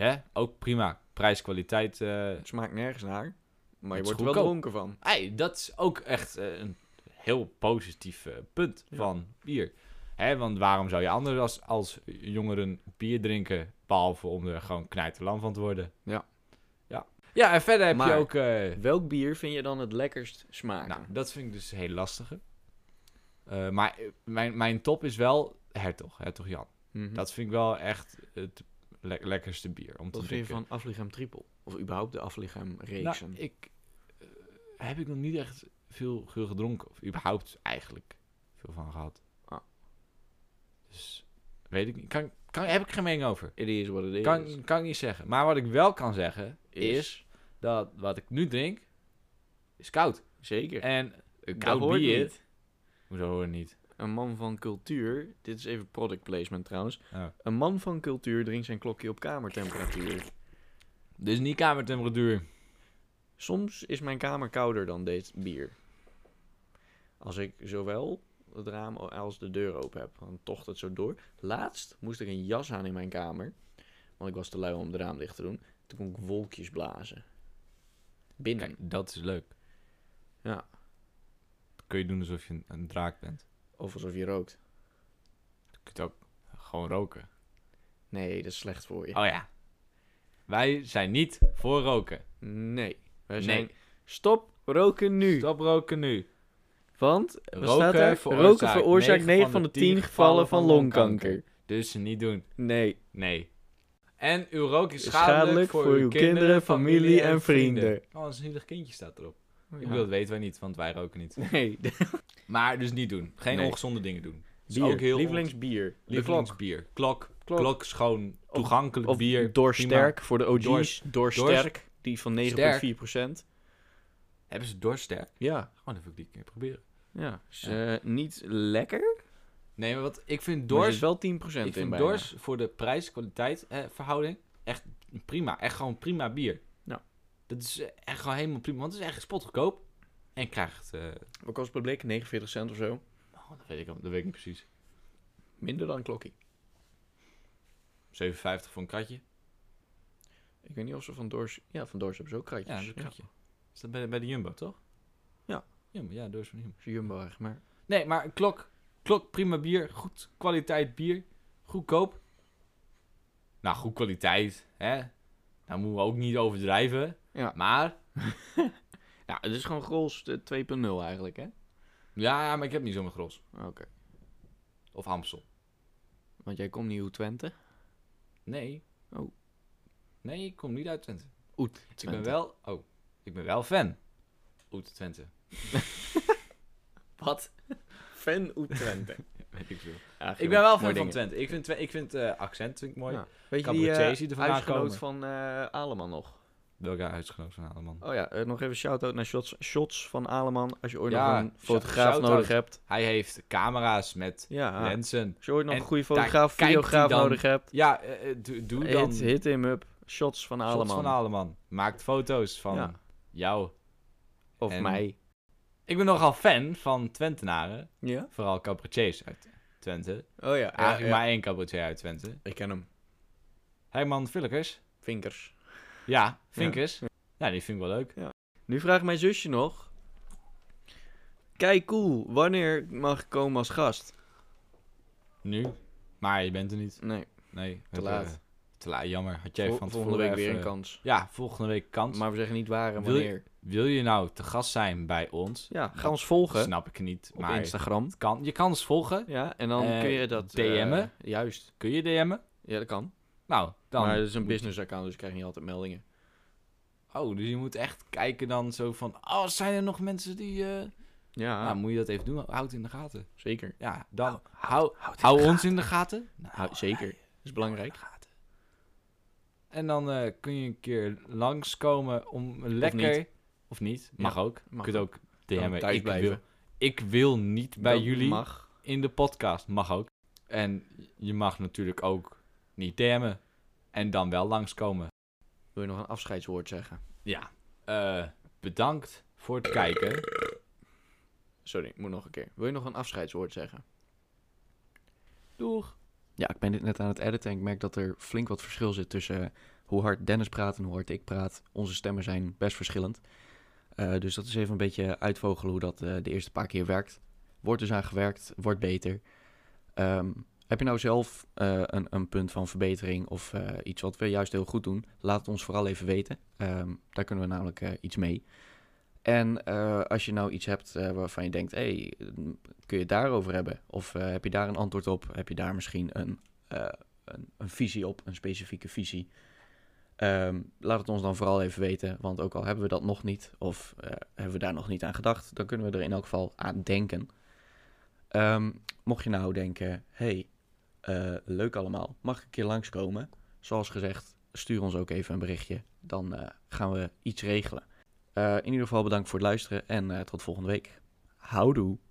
Speaker 2: Hè? Ook prima. Prijs-kwaliteit. eh
Speaker 1: Het smaakt nergens naar, maar je
Speaker 2: is
Speaker 1: wordt er wel
Speaker 2: goedkoop.
Speaker 1: dronken van.
Speaker 2: ei, dat is ook echt eh, een heel positief eh, punt
Speaker 1: Ja.
Speaker 2: van bier. Hè, want waarom zou je anders als, als jongeren bier drinken, behalve om er gewoon knijterlam van te worden?
Speaker 1: Ja.
Speaker 2: Ja, ja en verder heb je
Speaker 1: Maar-
Speaker 2: ook... eh,
Speaker 1: Welk bier vind je dan het lekkerst smaken?
Speaker 2: nou, dat vind ik dus heel lastige. Eh, maar eh, mijn, mijn top is wel Hertog, Hertog Jan.
Speaker 1: Mhm.
Speaker 2: Dat vind ik wel echt het le- lekkerste bier om te
Speaker 1: Wat vind je
Speaker 2: drinken.
Speaker 1: van Aflichaam Triple? Of überhaupt de Aflichaam reeksen?
Speaker 2: Nou, ik eh, heb ik nog niet echt veel geur gedronken. Of überhaupt eigenlijk veel van gehad.
Speaker 1: Ah.
Speaker 2: Dus weet ik niet. Kan, kan, heb ik geen mening over.
Speaker 1: it is what it is.
Speaker 2: Kan, kan ik niet zeggen. Maar wat ik wel kan zeggen is,
Speaker 1: Is.
Speaker 2: dat wat ik nu drink is koud.
Speaker 1: Zeker.
Speaker 2: En een
Speaker 1: Dat
Speaker 2: koud
Speaker 1: hoort
Speaker 2: bier.
Speaker 1: niet.
Speaker 2: Hoezo hoor je niet?
Speaker 1: Een man van cultuur, dit is even product placement trouwens.
Speaker 2: Oh.
Speaker 1: Een man van cultuur drinkt zijn klokje op kamertemperatuur.
Speaker 2: Dus niet kamertemperatuur.
Speaker 1: Soms is mijn kamer kouder dan dit bier. Als ik zowel het raam als de deur open heb, dan tocht het zo door. Laatst moest ik een jas aan in mijn kamer, want ik was te lui om het raam dicht te doen. Toen kon ik wolkjes blazen. Binnen.
Speaker 2: Kijk, dat is leuk.
Speaker 1: Ja.
Speaker 2: Kun je doen alsof je een, een draak bent.
Speaker 1: Of alsof je rookt.
Speaker 2: Je kunt ook gewoon roken.
Speaker 1: Nee, dat is slecht voor je.
Speaker 2: Oh ja. Wij zijn niet voor roken.
Speaker 1: Nee. Wij
Speaker 2: Nee.
Speaker 1: zijn... Stop roken nu.
Speaker 2: Stop roken nu.
Speaker 1: Want, wat
Speaker 2: Roken
Speaker 1: staat er?
Speaker 2: veroorzaakt
Speaker 1: roken veroorzaakt 9 van de 10 gevallen van longkanker.
Speaker 2: Dus niet doen.
Speaker 1: Nee.
Speaker 2: Nee. En uw rook is
Speaker 1: Schadelijk
Speaker 2: schadelijk, voor, uw kinderen, familie en vrienden. Oh, een zielig kindje staat erop. Ik bedoel, dat weten wij niet, want wij roken niet.
Speaker 1: Nee, de-
Speaker 2: Maar dus niet doen. Geen
Speaker 1: Nee.
Speaker 2: ongezonde dingen doen. Is
Speaker 1: bier.
Speaker 2: ook heel on-
Speaker 1: Lievelingsbier. De klok.
Speaker 2: Lievelingsbier. Klok.
Speaker 1: Klok.
Speaker 2: Klok. schoon.
Speaker 1: Of-
Speaker 2: Toegankelijk
Speaker 1: Of
Speaker 2: bier.
Speaker 1: doorsterk voor de OG's.
Speaker 2: Doors-
Speaker 1: Doorsterk, die van 9,4
Speaker 2: Hebben ze doorsterk?
Speaker 1: Ja,
Speaker 2: Gewoon even die keer proberen.
Speaker 1: ja. Is, eh, niet lekker,
Speaker 2: Nee, maar wat ik vind
Speaker 1: maar er
Speaker 2: doors...
Speaker 1: is wel 10% in
Speaker 2: Ik vind
Speaker 1: bijna.
Speaker 2: doors voor de prijs-kwaliteit eh, verhouding echt prima. Echt gewoon prima bier.
Speaker 1: Ja.
Speaker 2: Dat is eh, echt gewoon helemaal prima. Want het is echt spotgoedkoop. En je krijgt... eh,
Speaker 1: Wat kost het blik? 49 cent of zo.
Speaker 2: oh, dat, weet ik, al- dat weet ik niet precies.
Speaker 1: Minder dan klokkie.
Speaker 2: 7,50 voor een kratje.
Speaker 1: Ik weet niet of ze van Doors... Ja, van Doors hebben ze ook
Speaker 2: Ja,
Speaker 1: kratjes.
Speaker 2: een kratje. Is dat bij de, bij de Jumbo, toch?
Speaker 1: Ja.
Speaker 2: Jumbo, ja, doors van Jumbo.
Speaker 1: Ze Jumbo erg, maar...
Speaker 2: Nee, maar een klok. Klok, prima bier. Goed kwaliteit bier. Goedkoop. Nou, goed kwaliteit. Hè? Nou, moeten we ook niet overdrijven.
Speaker 1: Ja.
Speaker 2: Maar,
Speaker 1: Ja, het is gewoon Grols eh, 2.0 eigenlijk, hè?
Speaker 2: ja, maar ik heb niet zomaar Gros.
Speaker 1: Ah, Oké.
Speaker 2: Of Hamsel.
Speaker 1: Want jij komt niet uit Twente.
Speaker 2: Nee.
Speaker 1: Oh.
Speaker 2: Nee, ik kom niet uit Twente.
Speaker 1: Oet
Speaker 2: Ik ben wel... Oh, ik ben wel fan. Oet Twente.
Speaker 1: Wat? Fan Oet Twente.
Speaker 2: Weet ik veel. Ik ben wel fan van Twente. Ik vind, Twe- ik vind eh, accent vind ik mooi.
Speaker 1: Ja. Weet je die
Speaker 2: Cabaretiers
Speaker 1: eh
Speaker 2: die er vandaan
Speaker 1: huisgenoot
Speaker 2: komen.
Speaker 1: van eh Aleman nog?
Speaker 2: Welke huisgenoot van Aleman.
Speaker 1: Oh ja, eh, nog even shout-out naar Shots, Shots van Aleman. Als je ooit
Speaker 2: Ja,
Speaker 1: nog een
Speaker 2: sh-
Speaker 1: fotograaf
Speaker 2: shout-out.
Speaker 1: nodig hebt.
Speaker 2: Hij heeft camera's met
Speaker 1: Ja.
Speaker 2: lenzen.
Speaker 1: Als je ooit nog
Speaker 2: En
Speaker 1: een goede
Speaker 2: daar
Speaker 1: fotograaf,
Speaker 2: kijkt hij
Speaker 1: videograaf
Speaker 2: dan.
Speaker 1: nodig hebt.
Speaker 2: Ja, eh, eh, doe, doe dan...
Speaker 1: Hit, hit him up. Shots van
Speaker 2: Shots
Speaker 1: Aleman.
Speaker 2: van Aleman. Maakt foto's van
Speaker 1: Ja.
Speaker 2: jou.
Speaker 1: Of
Speaker 2: En-
Speaker 1: mij.
Speaker 2: Ik ben nogal fan van Twentenaren.
Speaker 1: Ja?
Speaker 2: Vooral cabaretiers uit Twente.
Speaker 1: Oh ja.
Speaker 2: Eigenlijk maar één cabaretier uit Twente.
Speaker 1: Ik ken hem.
Speaker 2: Herman Villekers.
Speaker 1: Vinkers.
Speaker 2: Ja, Vinkers. Ja. die vind ik wel leuk.
Speaker 1: Nu vraagt mijn zusje nog. Kijk, cool. Wanneer mag ik komen als gast?
Speaker 2: Nu. Maar je bent er niet.
Speaker 1: Nee,
Speaker 2: Nee. we
Speaker 1: Te
Speaker 2: hebben-
Speaker 1: laat.
Speaker 2: te laat, jammer. Had jij
Speaker 1: vol-
Speaker 2: van
Speaker 1: volgende week
Speaker 2: tevoren
Speaker 1: weer
Speaker 2: even-
Speaker 1: een kans.
Speaker 2: Ja, volgende week kans.
Speaker 1: Maar we zeggen niet waar en
Speaker 2: Wil je-
Speaker 1: wanneer.
Speaker 2: Wil je nou te gast zijn bij ons?
Speaker 1: Ja, ga ons volgen
Speaker 2: Snap ik niet.
Speaker 1: op
Speaker 2: Maar
Speaker 1: Instagram.
Speaker 2: het kan, je kan ons volgen.
Speaker 1: Nou, Ja, en dan
Speaker 2: Eh,
Speaker 1: kun je dat... eh,
Speaker 2: DM'en?
Speaker 1: juist.
Speaker 2: Kun je DM'en?
Speaker 1: Ja, dat kan.
Speaker 2: Nou, dan.
Speaker 1: maar het is een business account, dus ik krijg niet altijd meldingen.
Speaker 2: Oh, dus je moet echt kijken dan zo van... Oh, zijn er nog mensen die... eh,
Speaker 1: Ja,
Speaker 2: Nou, moet je dat even doen. Houd het in de gaten.
Speaker 1: zeker.
Speaker 2: Ja, dan hou,
Speaker 1: Ah. Houd het
Speaker 2: hou
Speaker 1: in de
Speaker 2: ons in de gaten. Nou,
Speaker 1: gaten. Hou- zeker. is belangrijk.
Speaker 2: gaten. En dan eh, kun je een keer langskomen om lekker...
Speaker 1: niet.
Speaker 2: Of niet, mag ook.
Speaker 1: mag
Speaker 2: je kunt ook DM'en.
Speaker 1: Kan thuis
Speaker 2: Ik wil,
Speaker 1: blijven.
Speaker 2: ik wil niet bij
Speaker 1: Dat
Speaker 2: jullie
Speaker 1: mag.
Speaker 2: in de podcast. Mag ook. En je mag natuurlijk ook niet DM'en. En dan wel langskomen.
Speaker 1: Wil je nog een afscheidswoord zeggen?
Speaker 2: Ja. eh, bedankt voor het kijken.
Speaker 1: Sorry, ik moet nog een keer. Wil je nog een afscheidswoord zeggen?
Speaker 2: Doeg.
Speaker 1: Ja, ik ben dit net aan het editen en ik merk dat er flink wat verschil zit tussen eh, hoe hard Dennis praat en hoe hard ik praat. Onze stemmen zijn best verschillend. Eh, dus dat is even een beetje uitvogelen hoe dat eh, de eerste paar keer werkt. Wordt dus aan gewerkt, wordt beter. Ehm, heb je nou zelf eh, een, een punt van verbetering of eh, iets wat we juist heel goed doen? Laat het ons vooral even weten. Ehm, daar kunnen we namelijk eh, iets mee. En eh, als je nou iets hebt eh, waarvan je denkt, hé, hey, kun je het daarover hebben? Of eh, heb je daar een antwoord op? Heb je daar misschien een, eh, een, een visie op, een specifieke visie? Ehm, laat het ons dan vooral even weten, want ook al hebben we dat nog niet, of eh, hebben we daar nog niet aan gedacht, dan kunnen we er in elk geval aan denken. Ehm, mocht je nou denken, hey, eh, leuk allemaal, mag ik een keer langskomen? Zoals gezegd, stuur ons ook even een berichtje, dan eh, gaan we iets regelen. Eh, in ieder geval bedankt voor het luisteren en eh, tot volgende week. Houdoe!